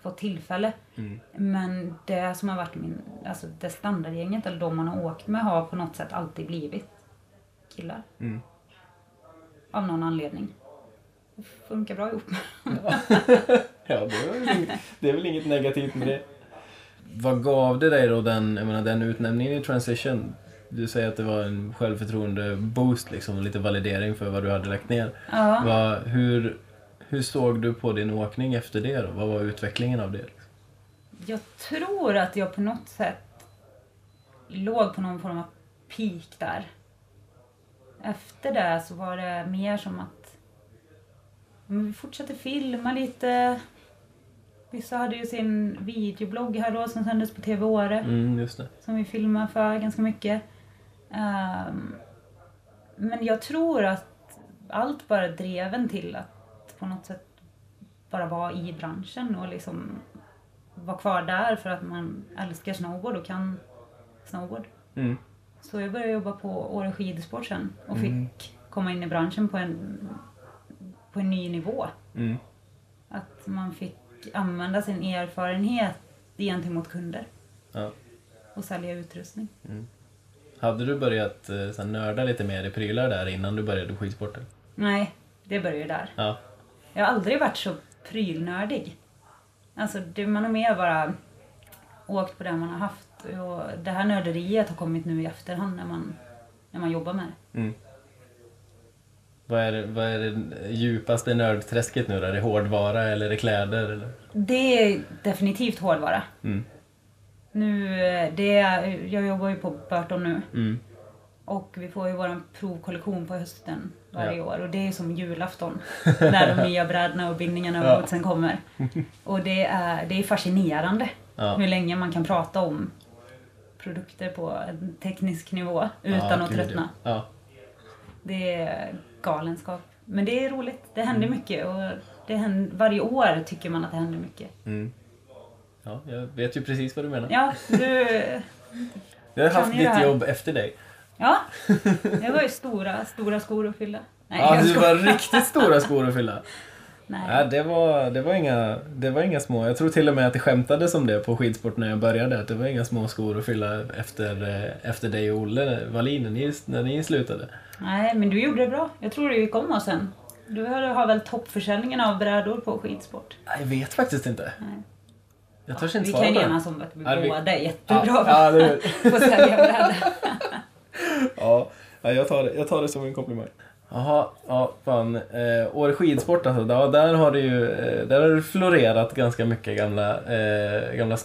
S2: fått tillfälle.
S1: Mm.
S2: Men det som har varit min, alltså det standardgänget eller de man har åkt med har på något sätt alltid blivit killar.
S1: Mm.
S2: Av någon anledning. Det funkar bra ihop.
S1: Ja, det är, väl inget, det är väl inget negativt med det. Vad gav det dig då den, jag menar, den utnämningen i Transition? Du säger att det var en självförtroende-boost liksom, och lite validering för vad du hade lagt ner.
S2: Ja.
S1: Vad, hur, hur såg du på din åkning efter det då? Vad var utvecklingen av det?
S2: Jag tror att jag på något sätt låg på någon form av peak där. Efter det så var det mer som att ja, men vi fortsatte filma lite. Vissa hade ju sin videoblogg här då som sändes på TV Åre
S1: Mm, just det.
S2: som vi filmar för ganska mycket. Ehm, men jag tror att allt bara drev en till att på något sätt bara vara i branschen och liksom vara kvar där för att man älskar snowboard och kan snowboard.
S1: Mm.
S2: Så jag började jobba på Åre skidsport sen och fick komma in i branschen på en, på en ny nivå.
S1: Mm.
S2: Att man fick använda sin erfarenhet gentemot kunder
S1: Ja.
S2: och sälja utrustning.
S1: Hade du börjat eh, så här, nörda lite mer i prylar där innan du började skidsporten?
S2: Nej, det börjar ju där.
S1: Ja.
S2: Jag har aldrig varit så prylnördig. Alltså, det, man har mer bara åkt på det man har haft. Och det här nörderiet har kommit nu i efterhand när man, när man jobbar med det.
S1: Mm. Vad är, det- vad är det djupaste nördträsket nu då? Är det hårdvara eller är det kläder? Eller?
S2: Det är definitivt hårdvara.
S1: Mm.
S2: Nu, eh, det, är- jag jobbar ju på Burton nu
S1: Mm.
S2: och vi får ju vår provkollektion på hösten varje
S1: Ja.
S2: år och det är som julafton när de nya brädorna och bindningarna
S1: Ja.
S2: och bootsen kommer. Och det är, det är fascinerande.
S1: Ja.
S2: hur länge man kan prata om produkter på en teknisk nivå utan
S1: Ja,
S2: att
S1: gud,
S2: tröttna.
S1: Ja. Ja.
S2: Det är galenskap. Men det är roligt. Det händer
S1: Mm.
S2: mycket. Och det händer, varje år tycker man att det händer mycket.
S1: Mm. ja, jag vet ju precis vad du menar.
S2: Ja, du...
S1: jag har
S2: kan
S1: haft
S2: ju det
S1: ditt
S2: här.
S1: jobb efter dig.
S2: Ja, det var ju stora, stora skor att fylla. Nej,
S1: Ja,
S2: jag
S1: det var
S2: skojar.
S1: riktigt stora skor att fylla.
S2: Nej.
S1: Ja, det, var, det, var inga, det var inga små. Jag tror till och med att det skämtades om det på skidsport när jag började. Att det var inga små skor att fylla efter, eh, efter dig och Olle Wallin när ni, när ni slutade.
S2: Nej, men du gjorde det bra. Jag tror du gick om oss sen. Du har har väl toppförsäljningen av brädor på skidsport?
S1: Nej, Jag vet faktiskt inte.
S2: Nej.
S1: Jag törs inte
S2: Vi
S1: svara
S2: kan
S1: på
S2: ju
S1: den.
S2: enas om att vi
S1: Ja, vi-
S2: båda är jättebra
S1: Ja,
S2: på
S1: ja, det är-
S2: på att sälja brädor.
S1: Ja, ja, jag tar det, jag tar det som en komplimang. Jaha, ja fan. Eh, år skidsport alltså, ja, där har det ju eh, där har det florerat ganska mycket gamla, eh, gamla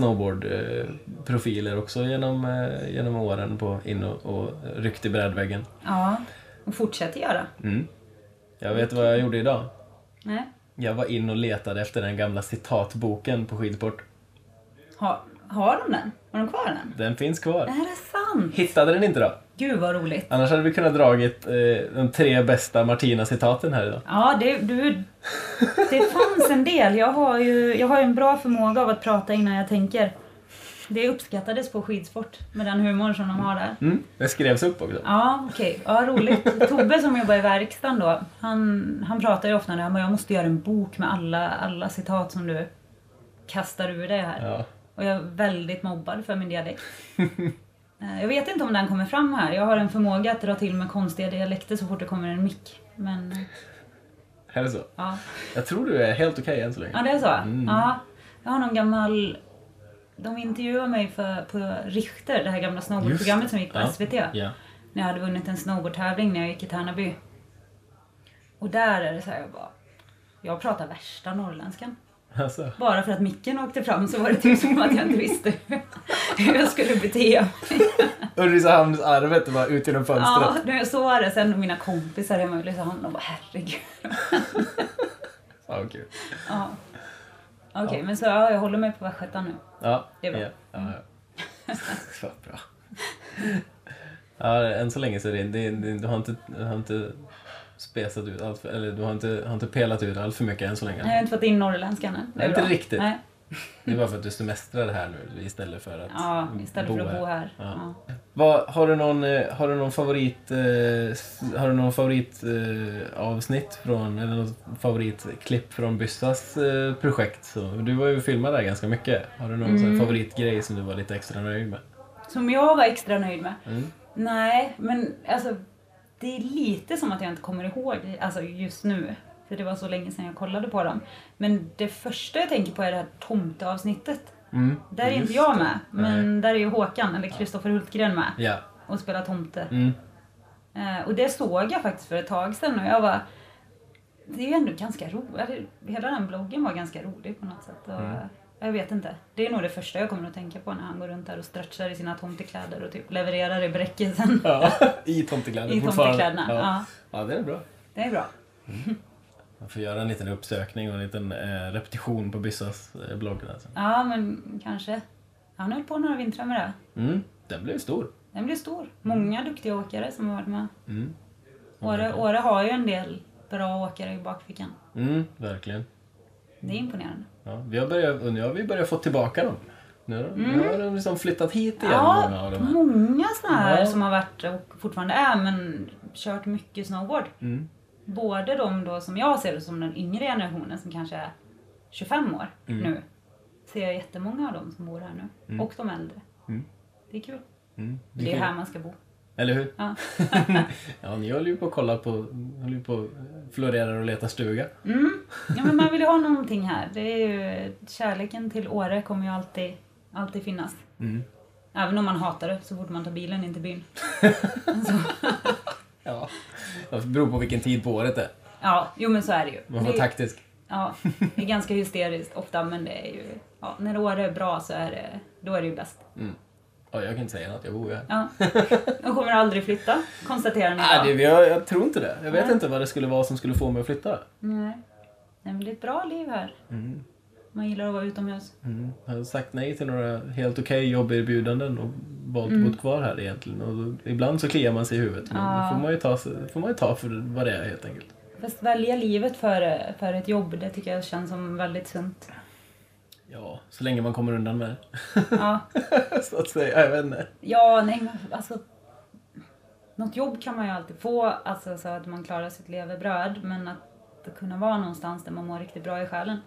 S1: snowboard-profiler också genom, eh, genom åren på in och, och ryckt i brädväggen. Mm.
S2: Ja, och fortsätter göra.
S1: Jag vet vad jag gjorde idag.
S2: Nej.
S1: Jag var in och letade efter den gamla citatboken på skidsport.
S2: Har, har de den? Har de kvar den?
S1: Den finns kvar.
S2: Är det sant?
S1: Hittade den inte då?
S2: Gud vad roligt.
S1: Annars hade vi kunnat dragit eh, de tre bästa Martina-citaten här idag.
S2: Ja, det, du, det fanns en del. Jag har, ju, jag har ju en bra förmåga av att prata innan jag tänker. Det uppskattades på skidsport med den humorn som de har där.
S1: Mm, det skrevs upp också.
S2: Ja, okej. Ja, roligt. Tobbe som jobbar i verkstaden då, han, han pratar ju ofta om det här men jag måste göra en bok med alla, alla citat som du kastar ur dig här.
S1: Ja.
S2: Och jag är väldigt mobbad för min dialekt. Eh, jag vet inte om den kommer fram här. Jag har en förmåga att dra till med konstiga dialekter så fort det kommer en mick. Men, eh,
S1: Är det så?
S2: ja.
S1: Jag tror du är helt okej än så länge.
S2: Ja, det är så?
S1: Mm.
S2: Ja. Jag har någon gammal... De intervjuade mig för, på Richter, det här gamla snowboardprogrammet som gick på
S1: Ja.
S2: SVT.
S1: Ja.
S2: När jag hade vunnit en snowboardtävling när jag gick i Tärnaby. Och där är det så här, jag bara... Jag pratar värsta norrländskan.
S1: Alltså.
S2: Bara för att micken åkte fram så var det typ som att jag inte visste hur- hur jag skulle bete mig.
S1: Ulricehamnsarvet var ut genom
S2: Ja,
S1: fönstret.
S2: när jag såg det sen mina kompisar hemma i Ulricehamn, de bara herregud.
S1: Ja. vad kul.
S2: Ja. Okej, men så ja, jag håller mig på västgötan nu.
S1: Ja.
S2: Det är bra.
S1: Ja. Ja, ja. Vad bra. Ja, än så länge så är det, det, det, du har inte, du har inte spesat ut allt för, eller du har inte, har inte pelat ut allt för mycket än så länge.
S2: Nej, jag har inte fått in norrländskan än. Det är
S1: Nej, inte
S2: bra.
S1: riktigt.
S2: Nej.
S1: Det är bara för att du semestrar här nu istället för att
S2: Ja, istället för att bo här. Ja.
S1: Vad, har du någon, eh, har du någon favorit, eh, s- har du någon favorit eh, avsnitt från, eller något favoritklipp från Byssas eh, projekt? Så, du var ju och filmade där ganska mycket. Har du någon sån
S2: Mm.
S1: här favoritgrej som du var lite extra nöjd med?
S2: Som jag var extra nöjd med.
S1: Mm.
S2: Nej, men alltså det är lite som att jag inte kommer ihåg alltså just nu. För det var så länge sedan jag kollade på dem. Men det första jag tänker på är det här tomteavsnittet.
S1: Mm.
S2: Där är inte jag med, men där är ju Håkan, eller Kristoffer Hultgren med
S1: Ja.
S2: och spelar tomte.
S1: Mm.
S2: Eh, och det såg jag faktiskt för ett tag sedan och jag var Det är ju ändå ganska roligt. Hela den bloggen var ganska rolig på något sätt. Och, Jag vet inte. Det är nog det första jag kommer att tänka på när han går runt där och stretchar i sina tomtekläder och typ levererar i bräckisen.
S1: ja. I tomtekläder
S2: I
S1: fortfarande.
S2: tomtekläderna,
S1: Ja. ja, det är bra.
S2: Det är bra.
S1: Man får göra en liten uppsökning och en liten eh, repetition på Byssas eh, blogg. där sen.
S2: Ja, men kanske. Han höll på några vintrar med det.
S1: Mm. Den blev stor.
S2: Den blev stor. Många duktiga åkare som har varit med.
S1: Mm.
S2: Åre, Åre har ju en del bra åkare i bakfickan.
S1: Mm, verkligen.
S2: Det
S1: Mm.
S2: är imponerande.
S1: Ja, vi har börjat, och nu har vi börjat få tillbaka dem. Nu har de, nu har de liksom flyttat hit igen, många av
S2: Mm. Ja,
S1: de här.
S2: många sådana här
S1: Ja.
S2: som har varit och fortfarande är men kört mycket snowboard.
S1: Mm.
S2: Både de då som jag ser som den yngre generationen som kanske är 25 år
S1: Mm.
S2: nu. Ser jag jättemånga av dem som bor här nu. Och de äldre.
S1: Mm.
S2: Det är kul.
S1: Mm.
S2: Det är
S1: kul.
S2: här man ska bo.
S1: Eller hur?
S2: Ja.
S1: ja, ni håller ju på att kolla på, håller ju på och florerar och letar stuga.
S2: Mm. Ja, men man vill ju ha någonting här. Det är ju, kärleken till Åre kommer ju alltid, alltid finnas.
S1: Mm.
S2: Även om man hatar det så fort man tar bilen in till byn.
S1: Ja. Det beror på vilken tid på året det är.
S2: Ja, jo men så är det ju.
S1: Man får
S2: Det-
S1: vara taktisk.
S2: Ja, det är ganska hysteriskt ofta men det är ju, ja, när Åre är bra så är det, då är det ju bäst.
S1: Mm. Ja, jag kan inte säga något, jag bor ju här.
S2: Ja. Jag kommer aldrig flytta, konstaterar ni
S1: Nej,
S2: idag.
S1: det, jag, jag tror inte det. Jag vet inte vad det skulle vara som skulle få mig att flytta.
S2: Nej. Nej, men det är ett bra liv här. Man gillar att vara utomhus.
S1: Mm. Jag har sagt nej till några helt okej jobberbjudanden och valt att bo kvar här egentligen. Och då, ibland så kliar man sig i huvudet. Men
S2: Mm. Ja.
S1: då får man, ju ta, sig- får man ju ta för vad det är helt enkelt.
S2: Fast välja livet för, för ett jobb, det tycker jag känns som väldigt sunt.
S1: Ja, så länge man kommer undan med
S2: Ja,
S1: det. så att säga, jag vet inte.
S2: ja nej men alltså. Något jobb kan man ju alltid få, alltså så att man klarar sitt levebröd. Men att kunna vara någonstans där man mår riktigt bra i själen.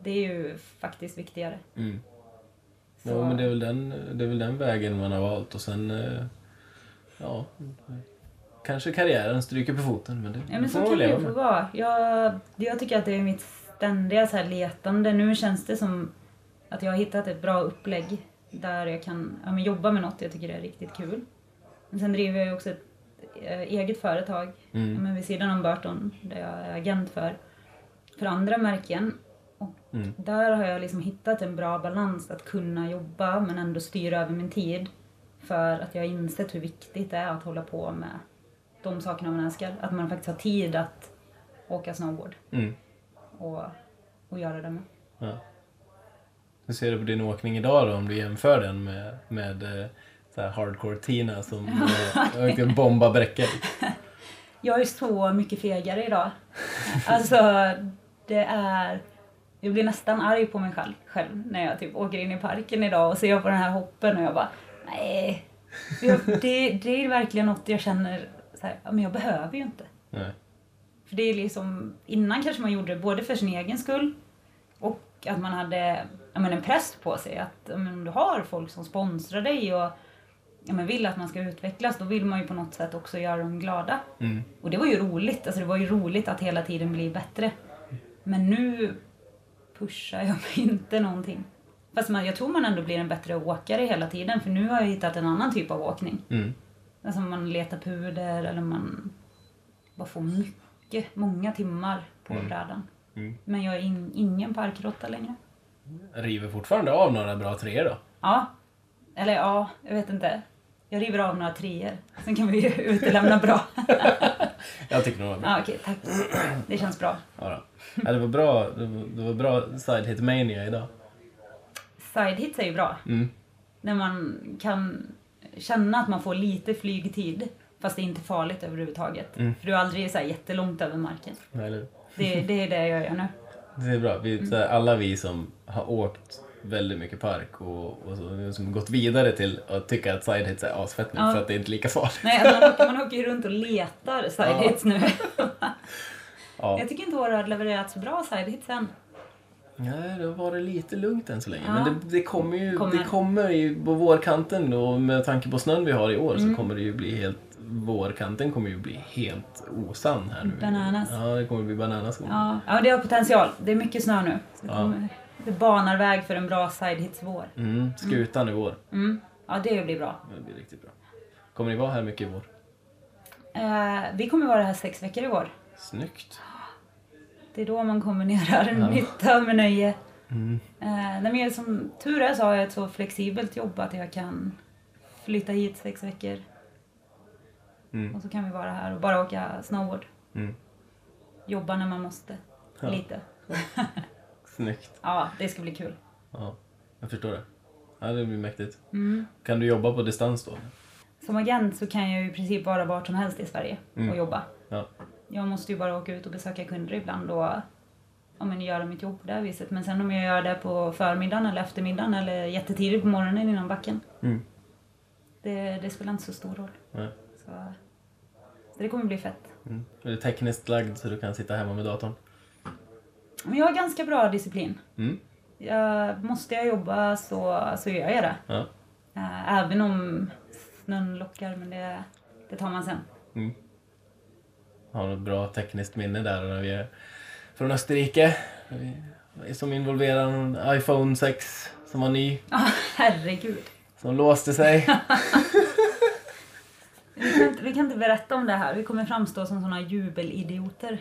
S2: Det är ju faktiskt viktigare.
S1: Mm.
S2: Så-
S1: Ja, men det är, väl den, det är väl den vägen man har valt och sen... eh, Ja, kanske karriären stryker på foten men det
S2: Ja men så
S1: man väl
S2: kan det
S1: leva
S2: ju få
S1: med.
S2: vara. Jag, jag tycker att det är mitt ständiga så här letande. Nu känns det som att jag har hittat ett bra upplägg där jag kan ja, men jobba med något jag tycker är riktigt kul. Men sen driver jag ju också ett eh, eget företag
S1: Mm.
S2: ja, men vid sidan om Burton där jag är agent för, för andra märken. Och
S1: Mm.
S2: där har jag liksom hittat en bra balans att kunna jobba men ändå styra över min tid. För att jag har insett hur viktigt det är att hålla på med de sakerna man älskar. Att man faktiskt har tid att åka snowboard
S1: Mm.
S2: och, och göra det med.
S1: Ja. Hur ser du på din åkning idag då om du jämför den med, med eh, så här hardcore-Tina som eh, verkligen bombar bräckor?
S2: Jag är så mycket fegare idag. Alltså, det är... Jag blir nästan arg på mig själv, själv när jag typ åker in i parken idag och ser på den här hoppen och jag bara, nej. Jag, det, det är verkligen något jag känner så här, "Ja, men jag behöver ju inte.
S1: Nej.
S2: För det är liksom, innan kanske man gjorde det både för sin egen skull och att man hade ja, men en press på sig. Att ja, men om du har folk som sponsrar dig och ja, men vill att man ska utvecklas, då vill man ju på något sätt också göra dem glada.
S1: Mm.
S2: Och det var ju roligt, alltså det var ju roligt att hela tiden bli bättre. Men nu pushar jag mig inte någonting. Fast man, jag tror man ändå blir en bättre åkare hela tiden för nu har jag hittat en annan typ av åkning.
S1: Mm.
S2: Alltså man letar puder eller man bara får mycket, många timmar på brädan.
S1: Mm.
S2: Men jag är in, ingen parkråtta längre.
S1: River fortfarande av några bra treor då?
S2: Ja, eller ja, jag vet inte. Jag river av några treor. Sen kan vi ju utelämna bra.
S1: Jag tycker de var bra.
S2: ja, okej, tack. Det känns bra.
S1: Ja, då. ja, det var bra, det var, det var bra side hit mania idag.
S2: Side hits är ju bra.
S1: Mm.
S2: När man kan känna att man får lite flygtid fast det är inte farligt överhuvudtaget.
S1: Mm.
S2: För du är aldrig så här jättelångt över marken.
S1: Eller,
S2: Det, det är det jag gör nu.
S1: det är bra. Vi, så här, alla vi som har åkt väldigt mycket park och, och så, som gått vidare till att tycka att side hits är asfett nu
S2: Ja.
S1: för att det är inte lika farligt.
S2: Nej, alltså man, åker, man åker ju runt och letar side
S1: Ja.
S2: hits nu.
S1: Ja.
S2: Jag tycker inte våra har levererat så bra side hits än.
S1: Nej, det har varit lite lugnt än så länge.
S2: Ja.
S1: Men det, det kommer ju
S2: Kommer.
S1: Det kommer ju på vårkanten och med tanke på snön vi har i år
S2: Mm.
S1: så kommer det ju bli helt Vårkanten kommer ju bli helt osann här nu.
S2: Bananas.
S1: Ja, det kommer bli bananas.
S2: Ja, ja det har potential. Det är mycket snö nu. Så det,
S1: Ja.
S2: kommer, det banar väg för en bra side hits vår.
S1: Mm, skutan i vår.
S2: Mm. Ja, det blir bra.
S1: Det blir riktigt bra. Kommer ni vara här mycket i vår?
S2: Eh, vi kommer vara här sex veckor i vår.
S1: Snyggt.
S2: Det är då man kombinerar nytta med nöje.
S1: Mm.
S2: Eh, nej, men jag- som tur är så har jag ett så flexibelt jobb att jag kan flytta hit sex veckor.
S1: Mm.
S2: Och så kan vi vara här och bara åka snowboard.
S1: Mm.
S2: Jobba när man måste.
S1: Ja.
S2: Lite.
S1: Snyggt.
S2: Ja, det ska bli kul.
S1: Ja, jag förstår det. Ja, det blir mäktigt.
S2: Mm.
S1: Kan du jobba på distans då?
S2: Som agent så kan jag ju i princip vara vart som helst i Sverige
S1: Mm.
S2: och jobba.
S1: Ja.
S2: Jag måste ju bara åka ut och besöka kunder ibland och ja, men, göra mitt jobb på det här viset. Men sen om jag gör det på förmiddagen eller eftermiddagen eller jättetidigt på morgonen innan backen.
S1: Mm.
S2: Det, det spelar inte så stor roll.
S1: Nej.
S2: Så, så det kommer bli fett.
S1: Mm. Är du tekniskt lagd så du kan sitta hemma med datorn?
S2: Men jag har ganska bra disciplin.
S1: Mm.
S2: Jag, måste jag jobba så, så gör jag det.
S1: Ja.
S2: Eh, Även om snön lockar, men det, det tar man sen.
S1: Mm. Har något bra tekniskt minne där när vi är från Österrike. När vi- Som involverar en iPhone 6 som var ny,
S2: Ja, herregud.
S1: som låste sig.
S2: Vi kan, inte, vi kan inte berätta om det här. Vi kommer framstå som såna jubelidioter.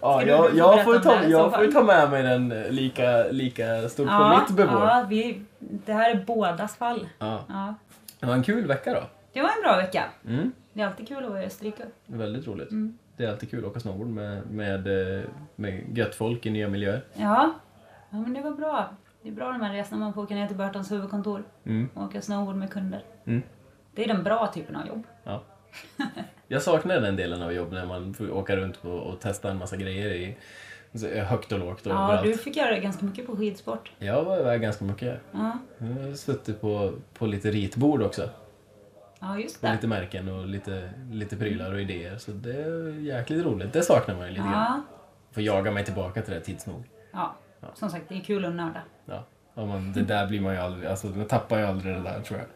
S1: Ja,
S2: Ska du- du
S1: jag
S2: får
S1: jag,
S2: berätta
S1: får,
S2: om det
S1: ta,
S2: här i så
S1: jag får
S2: fall.
S1: ta med mig den eh, lika, lika stort på mitt bevår.
S2: ja vi, det här är bådas fall.
S1: Ja.
S2: Ja.
S1: Det var en kul vecka då.
S2: Det var en bra vecka.
S1: Mm.
S2: Det är alltid kul att vara i Österrike.
S1: Väldigt roligt.
S2: Mm.
S1: Det är alltid kul att åka snowboard med, med, eh, med gött folk i nya miljöer.
S2: Ja. ja, men det var bra. Det är bra de här resorna man får åka ner till Burtons huvudkontor
S1: Mm.
S2: och åka snowboard med kunder.
S1: Mm.
S2: Det är den bra typen av jobb.
S1: Ja. Jag saknar den delen av jobb när man får åka runt och, och testa en massa grejer i så högt och lågt och
S2: Ja, du
S1: överallt.
S2: fick göra ganska mycket på skidsport.
S1: Jag var iväg ganska mycket.
S2: Ja,
S1: Jag har suttit på, på lite ritbord också.
S2: ja just
S1: På
S2: det.
S1: lite märken och lite, lite prylar och idéer. Så det är jäkligt roligt. Det saknar man ju lite grann.
S2: Ja.
S1: Får jaga mig tillbaka till det tids nog.
S2: ja, som sagt, det är kul att nörda.
S1: Ja. ja man, det där blir man ju aldrig, alltså man tappar ju aldrig det där tror jag.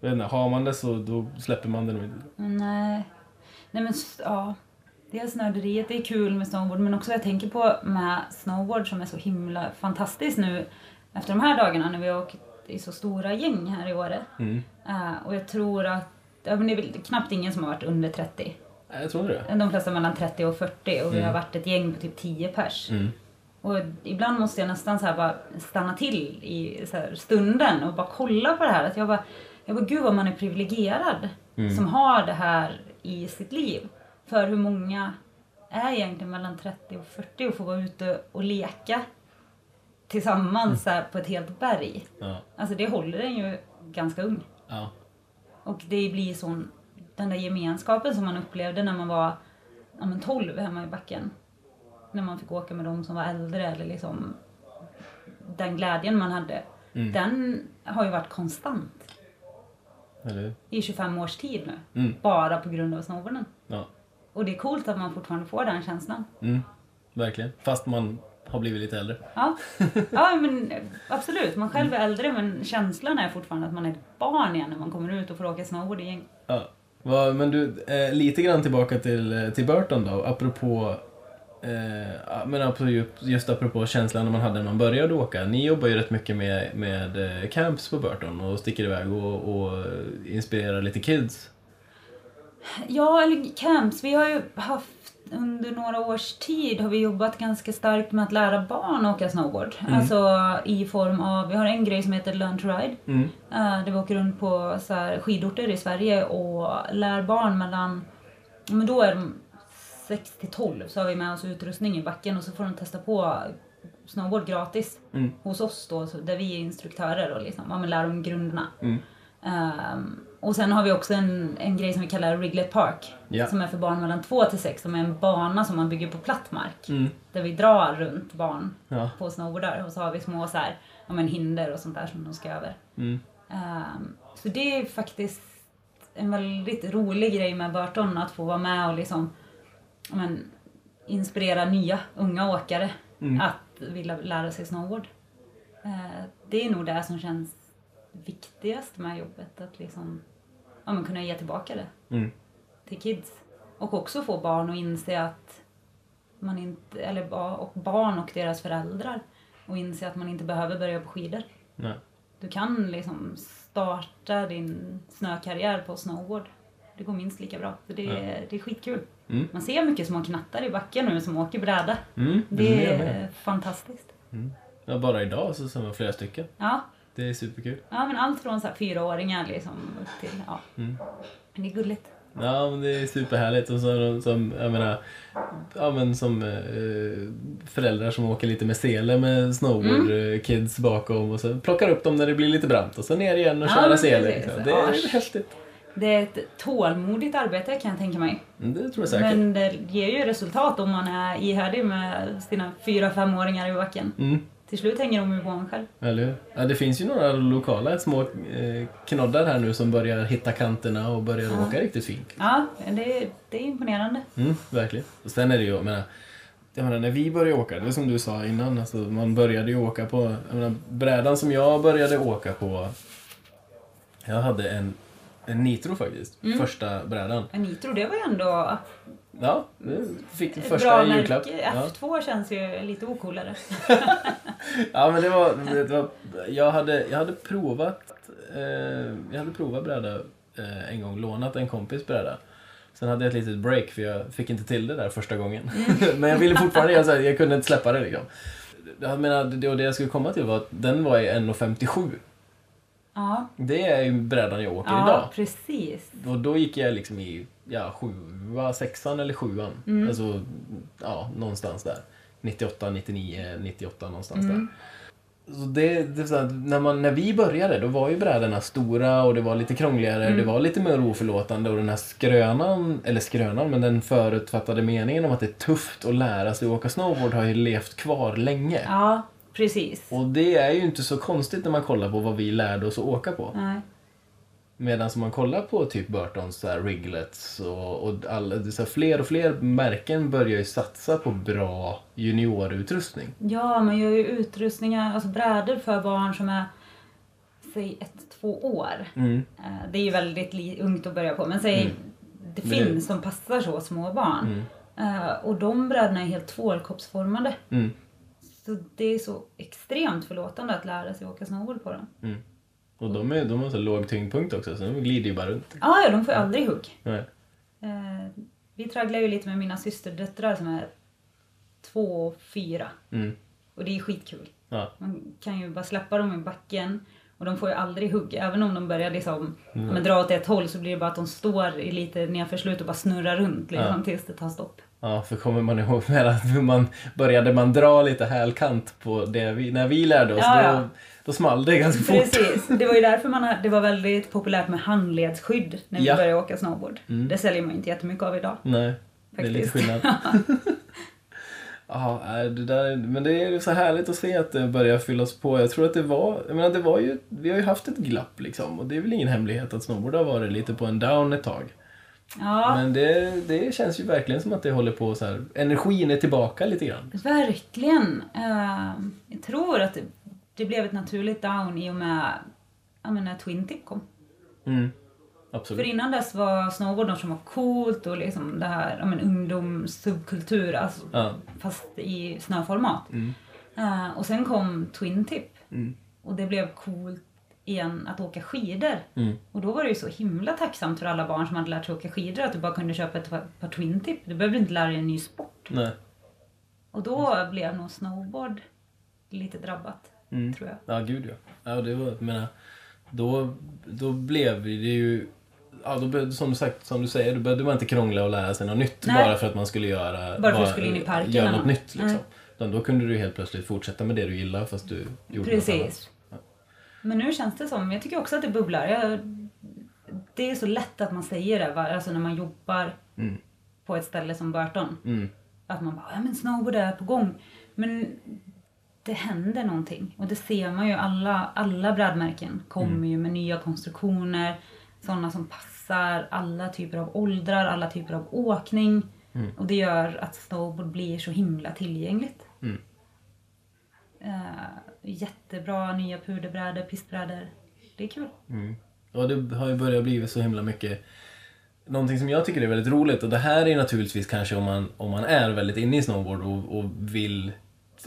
S1: jag vet inte, har man det så då släpper man det nog inte.
S2: Men, eh, nej men s- ja. Dels nörderiet, det är kul med snowboard men också jag tänker på med snowboard som är så himla fantastiskt nu efter de här dagarna när vi har åkt i så stora gäng här i Åre. Eh, och jag tror att, ja men det är väl knappt ingen som har varit under 30.
S1: Nej, jag tror inte det.
S2: De flesta mellan 30 och 40 och vi har varit ett gäng på typ 10 pers. Och ibland måste jag nästan så här bara stanna till i så här stunden och bara kolla på det här. Att jag, bara, jag bara, gud vad man är privilegierad som har det här i sitt liv. För hur många är egentligen mellan 30 och 40 och få vara ute och leka tillsammans så här, på ett helt berg.
S1: Ja.
S2: Alltså det håller en ju ganska ung.
S1: Ja.
S2: Och det blir sån, den där gemenskapen som man upplevde när man var ja, men 12 hemma i backen. När man fick åka med de som var äldre eller liksom den glädjen man hade.
S1: Mm.
S2: Den har ju varit konstant
S1: Eller hur?
S2: i 25 års tid nu.
S1: Mm.
S2: Bara på grund av snowboarden.
S1: Ja.
S2: Och det är coolt att man fortfarande får den känslan.
S1: Mm. Verkligen. Fast man har blivit lite äldre.
S2: Ja, ja men eh, absolut. Man själv är äldre men känslan är fortfarande att man är ett barn igen när man kommer ut och får åka snowboard i gäng.
S1: Ja. Va, men du, eh, lite grann tillbaka till, eh, till Burton då, apropå Eh, ja, men apropå, ju- just apropå känslan man hade när man började åka. Ni jobbar ju rätt mycket med, med eh, camps på Burton och sticker iväg och, och eh, inspirerar lite kids.
S2: Ja, eller camps. Vi har ju haft under några års tid har vi jobbat ganska starkt med att lära barn åka snowboard. Alltså i form av, vi har en grej som heter Learn to Ride.
S1: Mm.
S2: Eh, Där vi åker runt på så här skidorter i Sverige och lär barn mellan, ja, men då är de 6 till 12 så har vi med oss utrustning i backen och så får de testa på snowboard gratis
S1: Mm.
S2: hos oss då så- där vi är instruktörer och liksom, ja, men lär dem grunderna.
S1: Mm.
S2: Ehm, och sen har vi också en, en grej som vi kallar Riglet Park
S1: Ja.
S2: som är för barn mellan 2 till 6 som är en bana som man bygger på platt mark
S1: Mm.
S2: där vi drar runt barn
S1: Ja.
S2: på snowboardar och så har vi små så här, ja, men hinder och sånt där som de ska över.
S1: Mm.
S2: Ehm, så det är faktiskt en väldigt rolig grej med Burton att få vara med och liksom ja, men, inspirera nya unga åkare
S1: Mm.
S2: att vilja lära sig snowboard. Eh, det är nog det som känns viktigast med jobbet, att liksom, ja, men kunna ge tillbaka det
S1: Mm.
S2: till kids. Och också få barn att inse att man inte, eller ja, och barn och deras föräldrar, och inse att man inte behöver börja på skidor.
S1: Nej.
S2: Du kan liksom starta din snökarriär på snowboard. Det går minst lika bra. Så det, är, det är skitkul.
S1: Mm.
S2: Man ser mycket små knattar i backen nu som åker bräda.
S1: Mm.
S2: Det
S1: jag
S2: är
S1: med.
S2: fantastiskt.
S1: Ja, bara idag så ser man flera stycken.
S2: Ja,
S1: Det är superkul.
S2: ja, men allt från så här fyraåringar liksom upp till... Ja.
S1: Mm.
S2: Men det är gulligt.
S1: Ja, men det är superhärligt. Och så, de som, jag menar, ja, men som eh, föräldrar som åker lite med sele med
S2: Mm.
S1: snowboard-kids bakom och så plockar upp dem när det blir lite brant och så ner igen och
S2: Ja,
S1: köra
S2: men
S1: sele.
S2: precis.
S1: Liksom. Det är
S2: Asch.
S1: häftigt.
S2: Det är ett tålmodigt arbete kan jag tänka mig.
S1: Mm, Det tror jag säkert.
S2: Men det ger ju resultat om man är ihärdig med sina fyra femåringar i backen.
S1: Mm.
S2: Till slut hänger de ju på en själv.
S1: Eller hur? ja, Det finns ju några lokala små eh, knoddar här nu som börjar hitta kanterna och börjar åka riktigt fint.
S2: Ja, det, det är imponerande.
S1: Mm, verkligen. Och sen är det ju, jag menar, jag menar, när vi började åka, det är som du sa innan, alltså, man började ju åka på, jag menar, brädan som jag började åka på, jag hade en, en nitro faktiskt,
S2: Mm.
S1: första brädan.
S2: Men Nitro, det var ju ändå
S1: Ja, det fick
S2: ett
S1: första i
S2: märke.
S1: julklapp. Ja.
S2: F2 känns ju lite ocoolare.
S1: ja, men det var, det var jag, hade, jag hade provat, eh, jag hade provat bräda eh, en gång, lånat en kompis bräda. Sen hade jag ett litet break för jag fick inte till det där första gången. Men jag ville fortfarande, jag, så här, jag kunde inte släppa det liksom. Jag menar, det, och det jag skulle komma till var att den var i 1,57.
S2: Ja,
S1: Det är ju brädan jag åker
S2: ja
S1: idag.
S2: precis.
S1: Och då gick jag liksom i ja, sjua, sexan eller sjuan. Alltså, ja, någonstans där. 98, 99, 98 någonstans där. Så det, det är så här, när, man, när vi började då var ju brädorna stora och det var lite krångligare, det var lite mer oförlåtande och den här skrönan, eller skrönan, men den förutfattade meningen om att det är tufft att lära sig att åka snowboard har ju levt kvar länge.
S2: Ja, precis.
S1: Och det är ju inte så konstigt när man kollar på vad vi lärde oss att åka på.
S2: Nej.
S1: Medan som man kollar på typ Burtons så här, Riglets och, och alla, det är så här, fler och fler märken börjar ju satsa på bra juniorutrustning.
S2: Ja, man gör ju utrustningar, alltså brädor för barn som är säg ett, två år.
S1: Mm.
S2: Eh, Det är ju väldigt li- ungt att börja på, men säg det
S1: Men det- Mm.
S2: finns som passar så små barn. Eh, Och de brädorna är helt tvålkoppsformade.
S1: Mm.
S2: Så det är så extremt förlåtande att lära sig åka snowboard på dem.
S1: Och de, är, de har så låg tyngdpunkt också så de glider ju bara runt.
S2: Ah, Ja, ja, de får ju aldrig hugg.
S1: Nej.
S2: Eh, vi tragglar ju lite med mina systerdöttrar som är två och fyra.
S1: Mm.
S2: Och det är skitkul.
S1: Ja.
S2: Man kan ju bara släppa dem i backen och de får ju aldrig hugg. Även om de börjar liksom,
S1: Mm.
S2: men dra åt ett håll så blir det bara att de står i lite nedför slut och bara snurrar runt liksom,
S1: Ja.
S2: tills det tar stopp.
S1: Ja, för kommer man ihåg med att man började man dra lite hälkant på det vi, när vi lärde oss,
S2: Ja, ja.
S1: Då, då small det ganska fort.
S2: Precis, det var ju därför man, hade- det var väldigt populärt med handledsskydd när vi
S1: Ja.
S2: började åka snowboard. Det säljer man ju inte jättemycket av idag.
S1: Nej, det är lite
S2: Faktiskt.
S1: skillnad. Ja, nej, det där, men det är ju så härligt att se att det börjar fyllas på. Jag tror att det var, jag menar det var ju, vi har ju haft ett glapp liksom och det är väl ingen hemlighet att snowboard har varit lite på en down ett tag.
S2: Ja,
S1: Men det, det känns ju verkligen som att det håller på så här, energin är tillbaka lite grann.
S2: verkligen. Eh, jag tror att det, det blev ett naturligt down i och med ja, men när Twin Tip kom.
S1: Mm.
S2: För
S1: Absolut.
S2: innan dess var snowboard något som var coolt och liksom det här, ja men ungdomssubkultur, alltså,
S1: Ja.
S2: fast i snöformat.
S1: Mm.
S2: Eh, och sen kom Twin Tip
S1: Mm.
S2: och det blev coolt igen att åka skidor.
S1: Mm.
S2: Och då var det ju så himla tacksamt för alla barn som hade lärt sig åka skidor att du bara kunde köpa ett par par Twin Tip. Du behövde inte lära dig en ny sport.
S1: Nej.
S2: Och då blev nog snowboard lite drabbat,
S1: Mm.
S2: tror jag.
S1: Ja, gud ja. ja det var, jag menar, då, då blev det ju... Ja, då, började- som, sagt, som du säger, då behövde man inte krångla och lära sig något nytt
S2: Nej.
S1: bara för att man skulle göra,
S2: Bara för att du skulle in i parken
S1: göra
S2: eller
S1: något
S2: något.
S1: nytt. Liksom.
S2: Mm.
S1: Utan då kunde du helt plötsligt fortsätta med det du gillar fast du gjorde något annat.
S2: Precis. Men nu känns det som, jag tycker också att det bubblar. Jag, det är så lätt att man säger det, va? alltså när man jobbar
S1: Mm.
S2: på ett ställe som Burton.
S1: Mm.
S2: Att man bara, ja men snowboard är på gång. Men det händer någonting. Och det ser man ju, alla, alla brädmärken kommer
S1: Mm.
S2: ju med nya konstruktioner. Sådana som passar alla typer av åldrar, alla typer av åkning. Och det gör att snowboard blir så himla tillgängligt.
S1: Mm.
S2: Eh, jättebra nya puderbrädor, pistbrädor. Det är kul.
S1: Mm. Ja, det har ju börjat bli så himla mycket... Någonting som jag tycker är väldigt roligt, och det här är naturligtvis kanske om man, om man är väldigt inne i snowboard och, och vill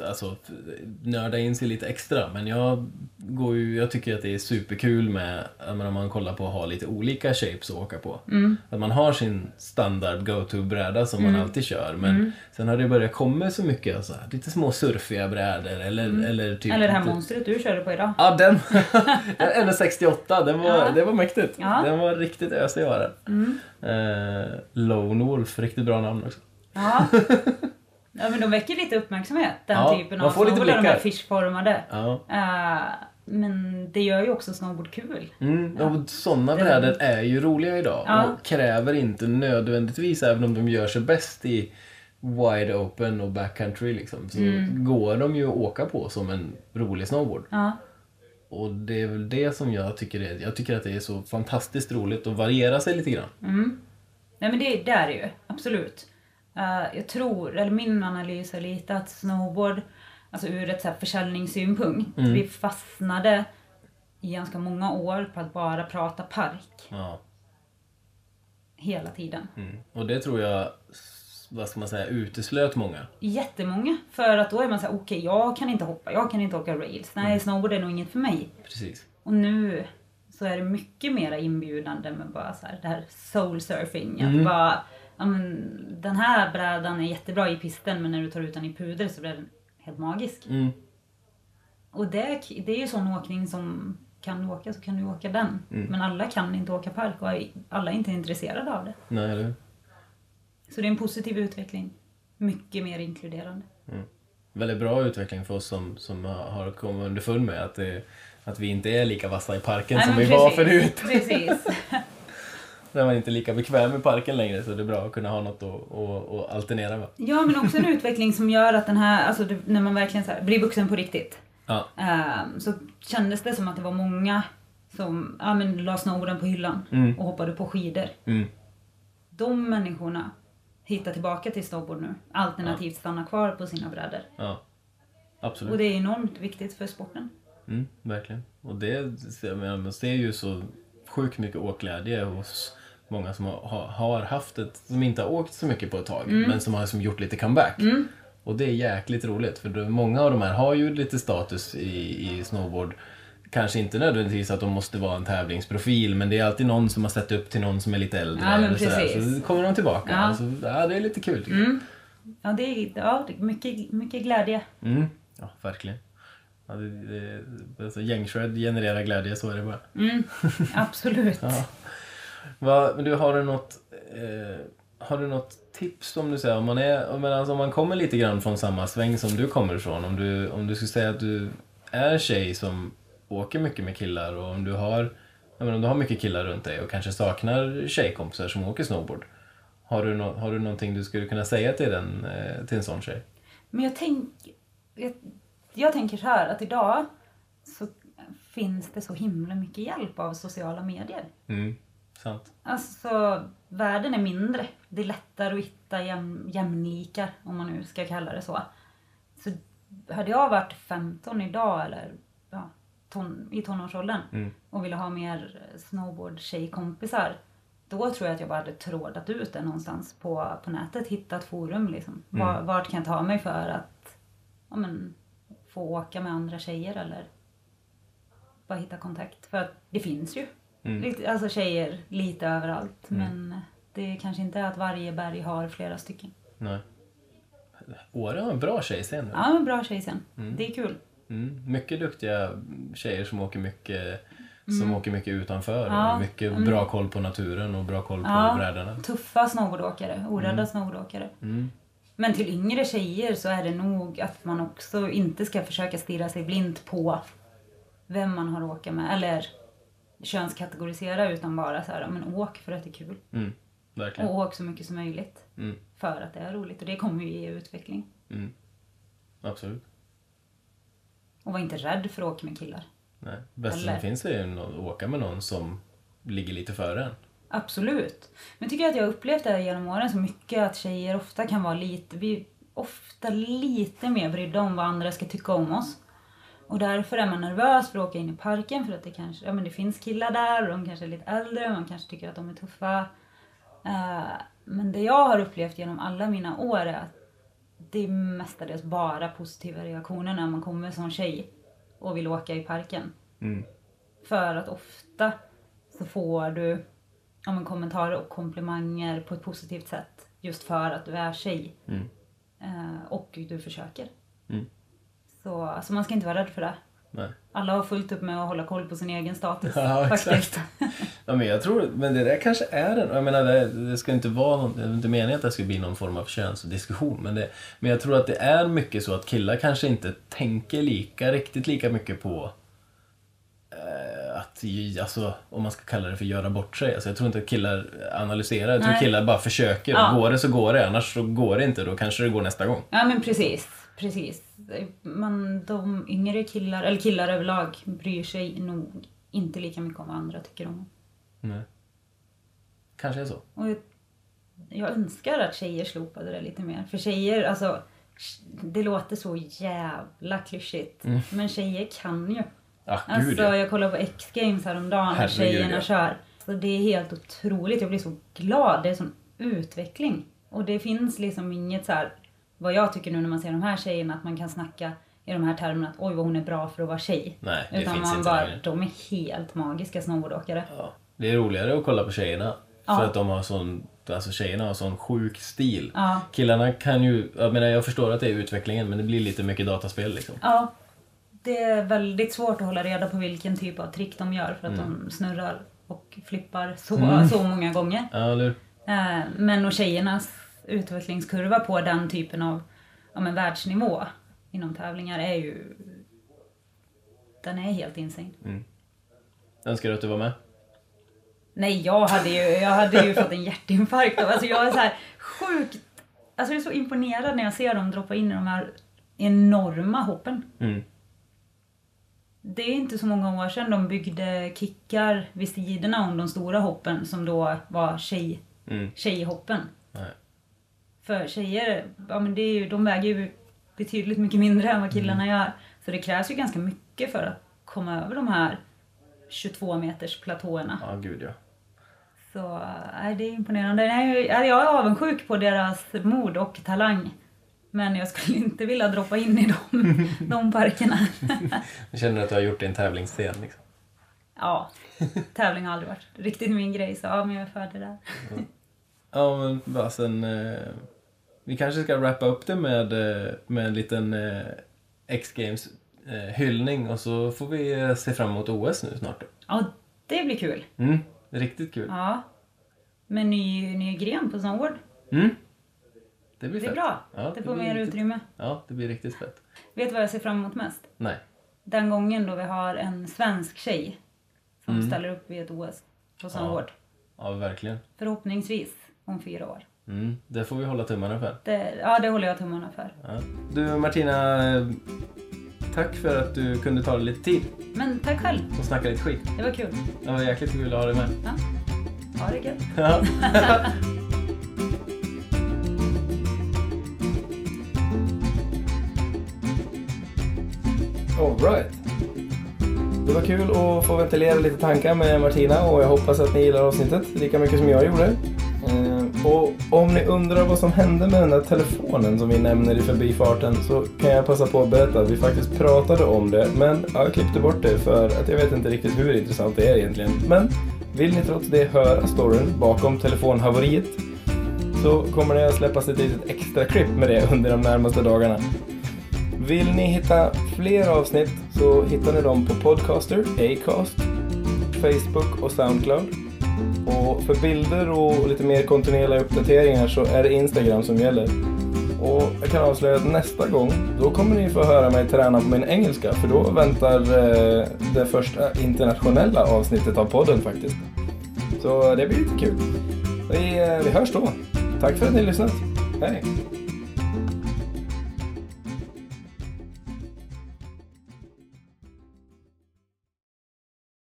S1: alltså, nörda in sig lite extra. Men jag, går ju, jag tycker att det är superkul med, jag menar, om man kollar på att ha lite olika shapes att åka på. Att man har sin standard go-to-bräda som man alltid kör. Men sen har det börjat komma så mycket så här, lite små surfiga brädor eller, eller typ...
S2: Eller det här
S1: lite-
S2: monstret du körde på idag.
S1: Ja, den, den NS68, den var,
S2: Ja.
S1: det var mäktigt.
S2: Ja. Mm.
S1: Den var riktigt ösig var den. Eh, Lone Wolf, riktigt bra namn också.
S2: Ja. ja, men de väcker lite uppmärksamhet, den
S1: Ja,
S2: typen
S1: man
S2: av
S1: får lite
S2: snowboardar, de här
S1: blickar.
S2: fishformade.
S1: Ja.
S2: Eh, men det gör ju också snowboard kul.
S1: Mm, och sådana
S2: Den-
S1: brädor är ju roliga idag
S2: Ja.
S1: och kräver inte nödvändigtvis, även om de gör sig bäst i wide open och backcountry liksom, så
S2: Mm.
S1: går de ju att åka på som en rolig snowboard.
S2: Ja,
S1: Och det är väl det som jag tycker är, jag tycker att det är så fantastiskt roligt att variera sig lite grann.
S2: mm. Nej men det, det är det ju, absolut. Eh, jag tror, eller min analys är lite att snowboard, alltså ur ett så här försäljningssynpunkt,
S1: Mm.
S2: vi fastnade i ganska många år på att bara prata park
S1: Ja.
S2: hela tiden.
S1: Mm. Och det tror jag, s- vad ska man säga, uteslöt många.
S2: Jättemånga, för att då är man såhär, okej jag kan inte hoppa, jag kan inte åka rails, nej
S1: Mm.
S2: snowboard är nog inget för mig.
S1: Precis.
S2: Och nu så är det mycket mer inbjudande med bara så här, det här soul surfing.
S1: Mm.
S2: Att bara, ja, men, den här brädan är jättebra i pisten men när du tar ut den i puder så blir den helt magisk.
S1: Mm.
S2: Och det, det är ju sån åkning som kan du åka så kan du åka den.
S1: Mm.
S2: Men alla kan inte åka park och alla är inte intresserade av det.
S1: Nej, eller hur?
S2: Så det är en positiv utveckling. Mycket mer inkluderande.
S1: Väldigt bra utveckling för oss som, som har kommit underfund med att, det, att vi inte är lika vassa i parken som vi
S2: men
S1: var förut.
S2: Precis.
S1: När man inte är lika bekväm i parken längre så det är bra att kunna ha något att, att, att alternera med.
S2: Ja men också en utveckling som gör att den här, alltså det, när man verkligen så här, blir vuxen på riktigt.
S1: Ja.
S2: Ehm, så kändes det som att det var många som ja, men, la snowboarden på hyllan
S1: Mm.
S2: och hoppade på skidor.
S1: Mm.
S2: De människorna hittar tillbaka till snowboard nu, alternativt stannar kvar på sina brädor.
S1: ja. Absolut.
S2: Och det är enormt viktigt för sporten.
S1: Mm, verkligen. Och det, jag menar, man ser ju så sjukt mycket åkglädje hos många som har, har haft ett, som inte har åkt så mycket på ett tag,
S2: Mm.
S1: men som har som gjort lite comeback. Och det är jäkligt roligt, för det, många av de här har ju lite status i, i snowboard. Kanske inte nödvändigtvis att de måste vara en tävlingsprofil, men det är alltid någon som har sett upp till någon som är lite äldre.
S2: Ja, men
S1: eller sådär.
S2: precis.
S1: Så kommer de tillbaka.
S2: Ja. Mm.
S1: Alltså, ja, det är lite kul tycker jag.
S2: Ja, det är ja, det är mycket, mycket glädje.
S1: Mm. Ja, verkligen. Ja, det, det, alltså, gängshred genererar glädje, så är det bara.
S2: Mm, absolut.
S1: Ja. Va, men du, har du något... Eh, Har du något tips om du säger, om man, är, om man- alltså, om man kommer lite grann från samma sväng som du kommer ifrån, om du, om du skulle säga att du är tjej som åker mycket med killar och om du har, jag menar, om du har mycket killar runt dig och kanske saknar tjejkompisar som åker snowboard. Har du, nå har du någonting du skulle kunna säga till, den, eh, till en sån tjej?
S2: Men jag, tänk, jag, jag tänker så här att idag så finns det så himla mycket hjälp av sociala medier.
S1: Mm. Sant.
S2: Alltså, världen är mindre. Det är lättare att hitta jäm, jämlikar, om man nu ska kalla det så. Så hade jag varit 15 idag, eller ja, ton, i tonårsåldern,
S1: Mm.
S2: och ville ha mer snowboard-tjejkompisar, då tror jag att jag bara hade trådat ut det någonstans på, på nätet, hittat forum liksom. Var, vart kan jag ta mig för att ja, men, få åka med andra tjejer eller bara hitta kontakt. För att det finns ju.
S1: Mm.
S2: Lite- Alltså tjejer lite överallt. Men det är kanske inte att varje berg har flera stycken.
S1: Nej. Åre har en bra tjejscen nu.
S2: Ja men bra tjej sen. Det är kul.
S1: Mm. Mycket duktiga tjejer som åker mycket, som åker mycket utanför.
S2: Mm. Ja, Mm.
S1: Och mycket bra koll på naturen och bra koll på
S2: Ja.
S1: brädorna.
S2: Tuffa snowboardåkare, orädda snowboardåkare.
S1: Mm.
S2: Men till yngre tjejer så är det nog att man också inte ska försöka stirra sig blint på vem man har åka med. Eller könskategorisera utan bara så här, "Ja, men åk för att det är kul.
S1: Mm. Verkligen.
S2: Och åk så mycket som möjligt.
S1: Mm.
S2: För att det är roligt och det kommer ju ge utveckling.
S1: Mm. Absolut.
S2: Och var inte rädd för att åka med killar.
S1: Nej. Bästa
S2: Eller-
S1: som finns är ju att åka med någon som ligger lite före en.
S2: Absolut. Men tycker jag att jag har upplevt det här genom åren så mycket att tjejer ofta kan vara lite, vi är ofta lite mer brydda om vad andra ska tycka om oss. Och därför är man nervös för att åka in i parken för att det kanske, ja men det finns killar där och de kanske är lite äldre, man kanske tycker att de är tuffa. Eh, men det jag har upplevt genom alla mina år är att det är mestadels bara positiva reaktioner när man kommer som tjej och vill åka i parken.
S1: Mm.
S2: För att ofta så får du ja, men, kommentarer och komplimanger på ett positivt sätt just för att du är tjej.
S1: Mm.
S2: Eh, och du försöker.
S1: Mm.
S2: Så alltså, man ska inte vara rädd för det.
S1: Nej.
S2: Alla har fullt upp med att hålla koll på sin egen status.
S1: Ja, exakt.
S2: faktiskt.
S1: Ja, men jag tror, men det där kanske är en, jag menar det, det ska inte vara någon, det är inte meningen att det ska bli någon form av könsdiskussion men, det, men jag tror att det är mycket så att killar kanske inte tänker lika, riktigt lika mycket på eh, att, ju- alltså, om man ska kalla det för göra bort sig. Alltså, jag tror inte att killar analyserar, jag tror
S2: Nej.
S1: killar bara försöker.
S2: Ja.
S1: Går det så går det, annars så går det inte, då kanske det går nästa gång.
S2: ja men precis. precis. Man, de yngre killar, eller killar överlag, bryr sig nog inte lika mycket om vad andra tycker om.
S1: Nej. Kanske är så.
S2: Och jag, jag önskar att tjejer slopade det lite mer. För tjejer, alltså, det låter så jävla klyschigt. Men tjejer kan ju.
S1: Ah, Mm. gud,
S2: Alltså,
S1: ja.
S2: jag kollade på X-games häromdagen när
S1: Herregud,
S2: tjejerna
S1: ja.
S2: kör. Så det är helt otroligt. Jag blir så glad. Det är sån utveckling. Och det finns liksom inget så här, vad jag tycker nu när man ser de här tjejerna, att man kan snacka i de här termerna att oj vad hon är bra för att vara tjej.
S1: Nej, det
S2: Utan
S1: finns
S2: man
S1: inte
S2: bara,
S1: längre.
S2: de är helt magiska snowboardåkare.
S1: Ja. Det är roligare att kolla på tjejerna.
S2: Ja.
S1: För att de har sån, alltså tjejerna har sån sjuk stil.
S2: Ja.
S1: Killarna kan ju, jag menar jag förstår att det är utvecklingen men det blir lite mycket dataspel liksom.
S2: Ja. Det är väldigt svårt att hålla reda på vilken typ av trick de gör för att de snurrar och flippar så, så många gånger.
S1: Ja, eller hur?
S2: Eh, Men och tjejernas utvecklingskurva på den typen av ja, men världsnivå inom tävlingar är ju... Den är helt insane.
S1: Önskar du att du var med?
S2: Nej, jag hade ju, jag hade ju fått en hjärtinfarkt. av- Alltså jag är så här sjukt... Alltså jag är så imponerad när jag ser dem droppa in i de här enorma hoppen.
S1: Mm.
S2: Det är inte så många år sedan de byggde kickar vid sidorna om de stora hoppen som då var tjej,
S1: Mm.
S2: tjejhoppen.
S1: Nej.
S2: För tjejer, ja, men det är ju, de väger ju betydligt mycket mindre än vad killarna gör. Så det krävs ju ganska mycket för att komma över de här 22 meters platåerna.
S1: Ja, gud ja.
S2: Så nej, det är imponerande. Nej, jag jag är avundsjuk på deras mod och talang. Men jag skulle inte vilja droppa in i de, de parkerna.
S1: Jag känner att du har gjort din tävlingsscen liksom.
S2: Ja, tävling har aldrig varit riktigt min grej så ja, men jag är för det där.
S1: Ja, men bara sen, eh, vi kanske ska wrappa upp det med, eh, med en liten eh, X-Games eh, hyllning och så får vi eh, se fram emot OS nu snart. då.
S2: Ja, det blir kul.
S1: Mm. Riktigt kul.
S2: Ja. Med ny, ny gren på snowboard.
S3: Mm. Det blir
S2: Det
S3: fett.
S2: är bra.
S3: Ja,
S2: det får
S3: blir
S2: mer
S3: riktigt-
S2: utrymme.
S3: Ja, det blir riktigt fett.
S2: Vet du vad jag ser fram emot mest?
S3: Nej.
S2: Den gången då vi har en svensk tjej som
S3: Mm.
S2: ställer upp vid ett OS på
S3: Ja.
S2: snowboard.
S3: Ja, verkligen.
S2: Förhoppningsvis om fyra år.
S3: Mm. Det får vi hålla tummarna för.
S2: Det, ja, det håller jag tummarna för.
S3: Ja. Du Martina, eh, tack för att du kunde ta dig lite tid
S2: Men tack själv.
S3: och snacka lite skit.
S2: Det var kul.
S3: Det var jäkligt kul att ha dig med.
S2: Ja. Ha det gött.
S3: Ja.
S1: Alright. Det var kul att få ventilera lite tankar med Martina och jag hoppas att ni gillar avsnittet lika mycket som jag gjorde. Eh, Och om ni undrar vad som hände med den där telefonen som vi nämner i förbifarten så kan jag passa på att berätta att vi faktiskt pratade om det men jag klippte bort det för att jag vet inte riktigt hur intressant det är egentligen. Men vill ni trots det höra storyn bakom telefonhaveriet så kommer det att släppas ett litet extra klipp med det under de närmaste dagarna. Vill ni hitta fler avsnitt så hittar ni dem på Podcaster, Acast, Facebook och Soundcloud. Och för bilder och lite mer kontinuerliga uppdateringar så är det Instagram som gäller. Och jag kan avslöja att nästa gång, då kommer ni få höra mig träna på min engelska för då väntar eh, det första internationella avsnittet av podden faktiskt. Så det blir lite kul. Vi, eh, vi hörs då. Tack för att ni har lyssnat. Hej!